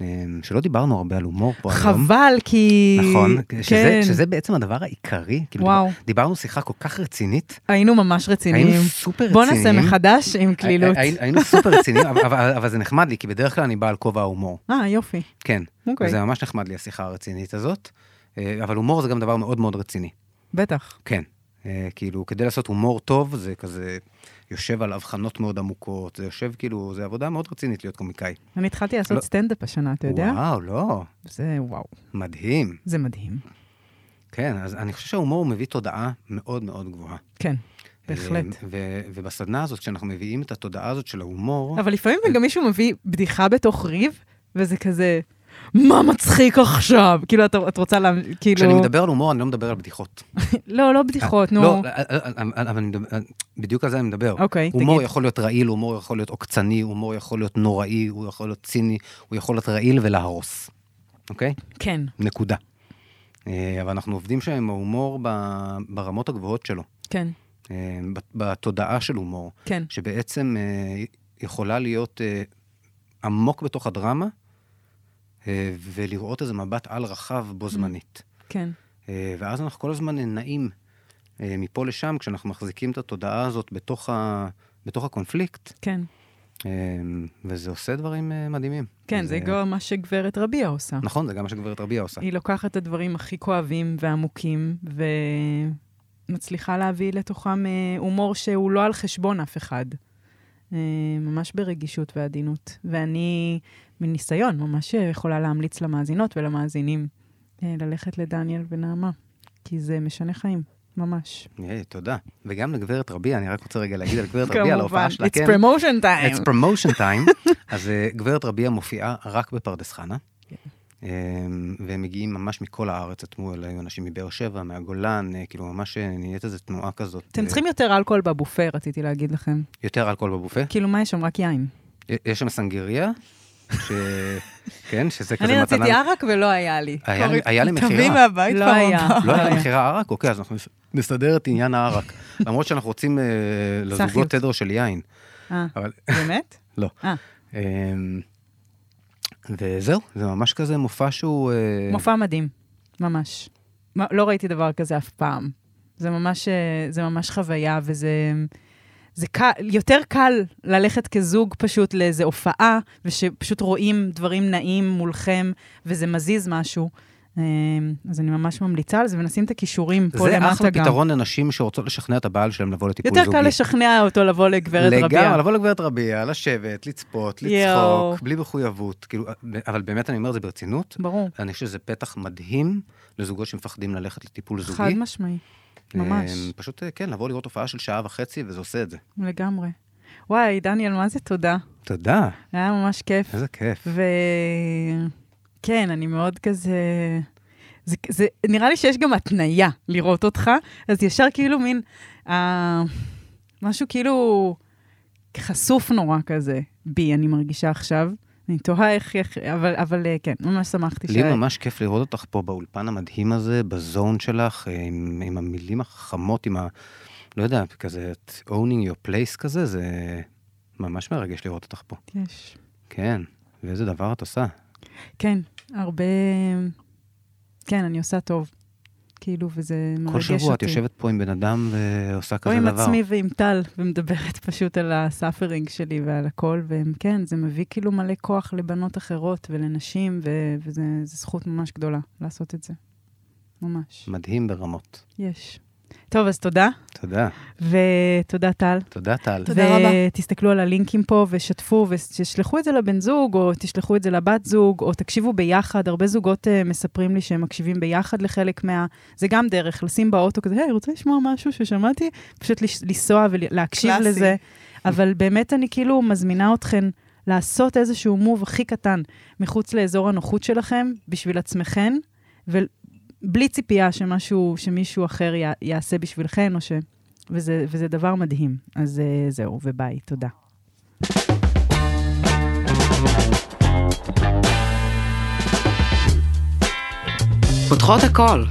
[SPEAKER 2] אה, שלא דיברנו הרבה על הומור פה היום.
[SPEAKER 1] חבל, כי...
[SPEAKER 2] נכון, שזה,
[SPEAKER 1] כן.
[SPEAKER 2] שזה בעצם הדבר העיקרי. כאילו
[SPEAKER 1] וואו.
[SPEAKER 2] דיבר, דיברנו שיחה כל כך רצינית,
[SPEAKER 1] היינו ממש רציניים.
[SPEAKER 2] היינו סופר
[SPEAKER 1] בוא
[SPEAKER 2] רציניים.
[SPEAKER 1] נעשה מחדש עם קלילות.
[SPEAKER 2] הי- הי- היינו סופר רציניים, אבל, אבל, אבל זה נחמד לי, כי בדרך כלל אני בא על כובע ההומור.
[SPEAKER 1] אה, יופי.
[SPEAKER 2] כן,
[SPEAKER 1] אוקיי.
[SPEAKER 2] זה ממש נחמד לי השיחה הרצינית הזאת, אה, אבל הומור זה גם דבר מאוד מאוד רציני.
[SPEAKER 1] בטח.
[SPEAKER 2] כן. אה, כאילו, כדי לעשות הומור טוב, זה כזה יושב על הבחנות מאוד עמוקות, זה יושב כאילו, זה עבודה מאוד רצינית להיות קומיקאי.
[SPEAKER 1] אני התחלתי לעשות
[SPEAKER 2] לא-
[SPEAKER 1] סטנדאפ השנה, אתה יודע?
[SPEAKER 2] וואו, לא,
[SPEAKER 1] זה וואו.
[SPEAKER 2] מדהים.
[SPEAKER 1] זה מדהים.
[SPEAKER 2] כן, אז אני חושב שההומור מביא תודעה מאוד מאוד גבוהה.
[SPEAKER 1] כן,
[SPEAKER 2] אה,
[SPEAKER 1] בהחלט.
[SPEAKER 2] ו- אמ, ו- ובסדנה הזאת, כשאנחנו מביאים את התודעה הזאת של ההומור,
[SPEAKER 1] אבל לפעמים
[SPEAKER 2] אה.
[SPEAKER 1] גם מישהו מביא בדיחה בתוך ריב, וזה כזה, מה מצחיק עכשיו? כאילו, את- את רוצה לה... כאילו...
[SPEAKER 2] כשאני מדבר על הומור, אני לא מדבר על בדיחות.
[SPEAKER 1] לא, לא בדיחות, נו.
[SPEAKER 2] לא, אבל אבל אני מדבר, אה, בדיוק על זה אני מדבר.
[SPEAKER 1] אוקיי,
[SPEAKER 2] הומור
[SPEAKER 1] תגיד.
[SPEAKER 2] יכול להיות רעיל, הומור יכול להיות עוקצני, הומור יכול להיות נוראי, הוא יכול להיות ציני, הוא יכול להיות רעיל ולהרוס. אוקיי?
[SPEAKER 1] כן.
[SPEAKER 2] נקודה. אה, אבל אנחנו עובדים שם עם ההומור ב- ברמות הגבוהות שלו,
[SPEAKER 1] כן,
[SPEAKER 2] אה, ב- בתודעה של הומור,
[SPEAKER 1] כן.
[SPEAKER 2] שבעצם אה, יכולה להיות אה, עמוק בתוך הדרמה, אה, ולראות איזה מבט על רחב בו זמנית.
[SPEAKER 1] כן.
[SPEAKER 2] אה, ואז אנחנו כל הזמן נעים אה, מפה לשם, כשאנחנו מחזיקים את התודעה הזאת בתוך, ה, בתוך הקונפליקט,
[SPEAKER 1] כן.
[SPEAKER 2] אמ, וזה עושה דברים אה, מדהימים.
[SPEAKER 1] כן, זה גם מה שגברת רביע עושה.
[SPEAKER 2] נכון, זה גם מה שגברת רביע עושה.
[SPEAKER 1] היא לוקחת את הדברים הכי כואבים ועמוקים, ומצליחה להביא לתוכם אה, הומור שהוא לא על חשבון אף אחד. אה, ממש ברגישות ועדינות. ואני, מניסיון, ממש יכולה להמליץ למאזינות ולמאזינים אה, ללכת לדניאל ונעמה, כי זה משנה חיים, ממש.
[SPEAKER 2] היי, תודה. וגם לגברת רביע, אני רק רוצה רגע להגיד על
[SPEAKER 1] (laughs)
[SPEAKER 2] גברת רביע, על ההופעה שלה,
[SPEAKER 1] it's
[SPEAKER 2] כן.
[SPEAKER 1] promotion time.
[SPEAKER 2] It's promotion
[SPEAKER 1] (laughs)
[SPEAKER 2] time. אז אה, גברת רביע מופיעה רק בפרדס חנה.
[SPEAKER 1] כן.
[SPEAKER 2] אמ, והם מגיעים ממש מכל הארץ, אטמו אליי אנשים מבאר שבע, מהגולן, אה, כאילו ממש אה, נהיית איזו תנועה כזאת.
[SPEAKER 1] אתם
[SPEAKER 2] אה,
[SPEAKER 1] צריכים יותר אלכוהול בבופה, רציתי להגיד לכם.
[SPEAKER 2] יותר אלכוהול בבופה.
[SPEAKER 1] כאילו, מה יש שם? רק יין.
[SPEAKER 2] יש שם סנגריה, ש... (laughs) כן, שזה כזה
[SPEAKER 1] אני
[SPEAKER 2] מתנה. אה,
[SPEAKER 1] רציתי ערק ולא היה לי.
[SPEAKER 2] היה לי- היה לי
[SPEAKER 4] תביא
[SPEAKER 2] מכירה.
[SPEAKER 4] מהבית
[SPEAKER 1] לא
[SPEAKER 4] פעם
[SPEAKER 1] היה.
[SPEAKER 4] הבאה.
[SPEAKER 2] לא היה לי מכירה ערק? אוקיי, אז אנחנו נסדר את
[SPEAKER 1] (laughs)
[SPEAKER 2] עניין הערק. למרות שאנחנו רוצים אה, לזוגות
[SPEAKER 1] סחיות.
[SPEAKER 2] תדר של יין.
[SPEAKER 1] אה,
[SPEAKER 2] אבל
[SPEAKER 1] באמת?
[SPEAKER 2] לא.
[SPEAKER 1] אה.
[SPEAKER 2] אמ, וזהו, זה ממש כזה מופע שהוא... אה,
[SPEAKER 1] מופע מדהים, ממש. מה- לא ראיתי דבר כזה אף פעם. זה ממש, אה, זה ממש חוויה, וזה זה קל, יותר קל ללכת כזוג פשוט לאיזו הופעה, ושפשוט רואים דברים נעים מולכם, וזה מזיז משהו. אה, אז אני ממש ממליצה על זה, ונשים את הכישורים פה
[SPEAKER 2] זה
[SPEAKER 1] למטה
[SPEAKER 2] אחלה
[SPEAKER 1] גם.
[SPEAKER 2] פתרון לנשים שרוצות לשכנע את הבעל שלהם לבוא לטיפול
[SPEAKER 1] יותר
[SPEAKER 2] זוגי.
[SPEAKER 1] קל לשכנע אותו לבוא לגברת רביע.
[SPEAKER 2] לגמרי, לבוא לגברת רביע, לשבת, לצפות,
[SPEAKER 1] יואו.
[SPEAKER 2] לצחוק, בלי מחויבות. כאילו, אבל באמת, אני אומר את זה ברצינות,
[SPEAKER 1] ברור,
[SPEAKER 2] אני חושב שזה פתח מדהים לזוגות שמפחדים ללכת לטיפול זוגי.
[SPEAKER 1] חד משמעי, ממש.
[SPEAKER 2] אמ, פשוט, אה, כן, לבוא לראות הופעה של שעה וחצי, וזה עושה את זה.
[SPEAKER 1] לגמרי. וואי, דניאל, מה זה תודה.
[SPEAKER 2] תודה,
[SPEAKER 1] היה ממש כיף.
[SPEAKER 2] איזה כיף.
[SPEAKER 1] וכן, כן, אני מאוד כזה... זה, זה, נראה לי שיש גם התניה לראות אותך, אז ישר כאילו מין, אה, משהו כאילו חשוף נורא כזה בי, אני מרגישה עכשיו. אני תוהה איך, איך אבל, אבל אה, כן, ממש שמחתי
[SPEAKER 2] לי ממש כיף לראות אותך פה באולפן המדהים הזה, בזון שלך, אה, עם, עם המילים החכמות, עם ה... לא יודע, כזה, את owning your place כזה, זה ממש מרגש לראות אותך פה.
[SPEAKER 1] יש.
[SPEAKER 2] כן, ואיזה דבר את עושה.
[SPEAKER 1] כן, הרבה... כן, אני עושה טוב. כאילו, וזה מרגש
[SPEAKER 2] כל
[SPEAKER 1] אותי.
[SPEAKER 2] שבוע את יושבת פה עם בן אדם ועושה
[SPEAKER 1] או
[SPEAKER 2] כזה
[SPEAKER 1] עם
[SPEAKER 2] דבר.
[SPEAKER 1] עצמי ועם טל, ומדברת (laughs) פשוט על הסאפרינג שלי ועל הכל, וכן, זה מביא כאילו מלא כוח לבנות אחרות ולנשים, ו- וזו זכות ממש גדולה לעשות את זה. ממש.
[SPEAKER 2] מדהים ברמות.
[SPEAKER 1] יש. טוב, אז תודה,
[SPEAKER 2] תודה.
[SPEAKER 1] ותודה טל.
[SPEAKER 2] תודה, טל.
[SPEAKER 4] תודה רבה.
[SPEAKER 1] ותסתכלו על הלינקים פה ושתפו ותשלחו את זה לבן זוג, או תשלחו את זה לבת זוג, או תקשיבו ביחד. הרבה זוגות uh, מספרים לי שהם מקשיבים ביחד לחלק מה... זה גם דרך, לשים באוטו כזה, היי, רוצה לשמוע משהו ששמעתי? פשוט לש- לנסוע ולהקשיב
[SPEAKER 4] קלאסי.
[SPEAKER 1] לזה. אבל באמת אני כאילו מזמינה אתכן לעשות איזשהו מוב הכי קטן מחוץ לאזור הנוחות שלכם, בשביל עצמכן, ובלי ציפייה שמשהו, שמישהו אחר י- יעשה בשבילכן, או ש... וזה, וזה דבר מדהים. אז אה, זהו, וביי, תודה.
[SPEAKER 3] פותחות הכל.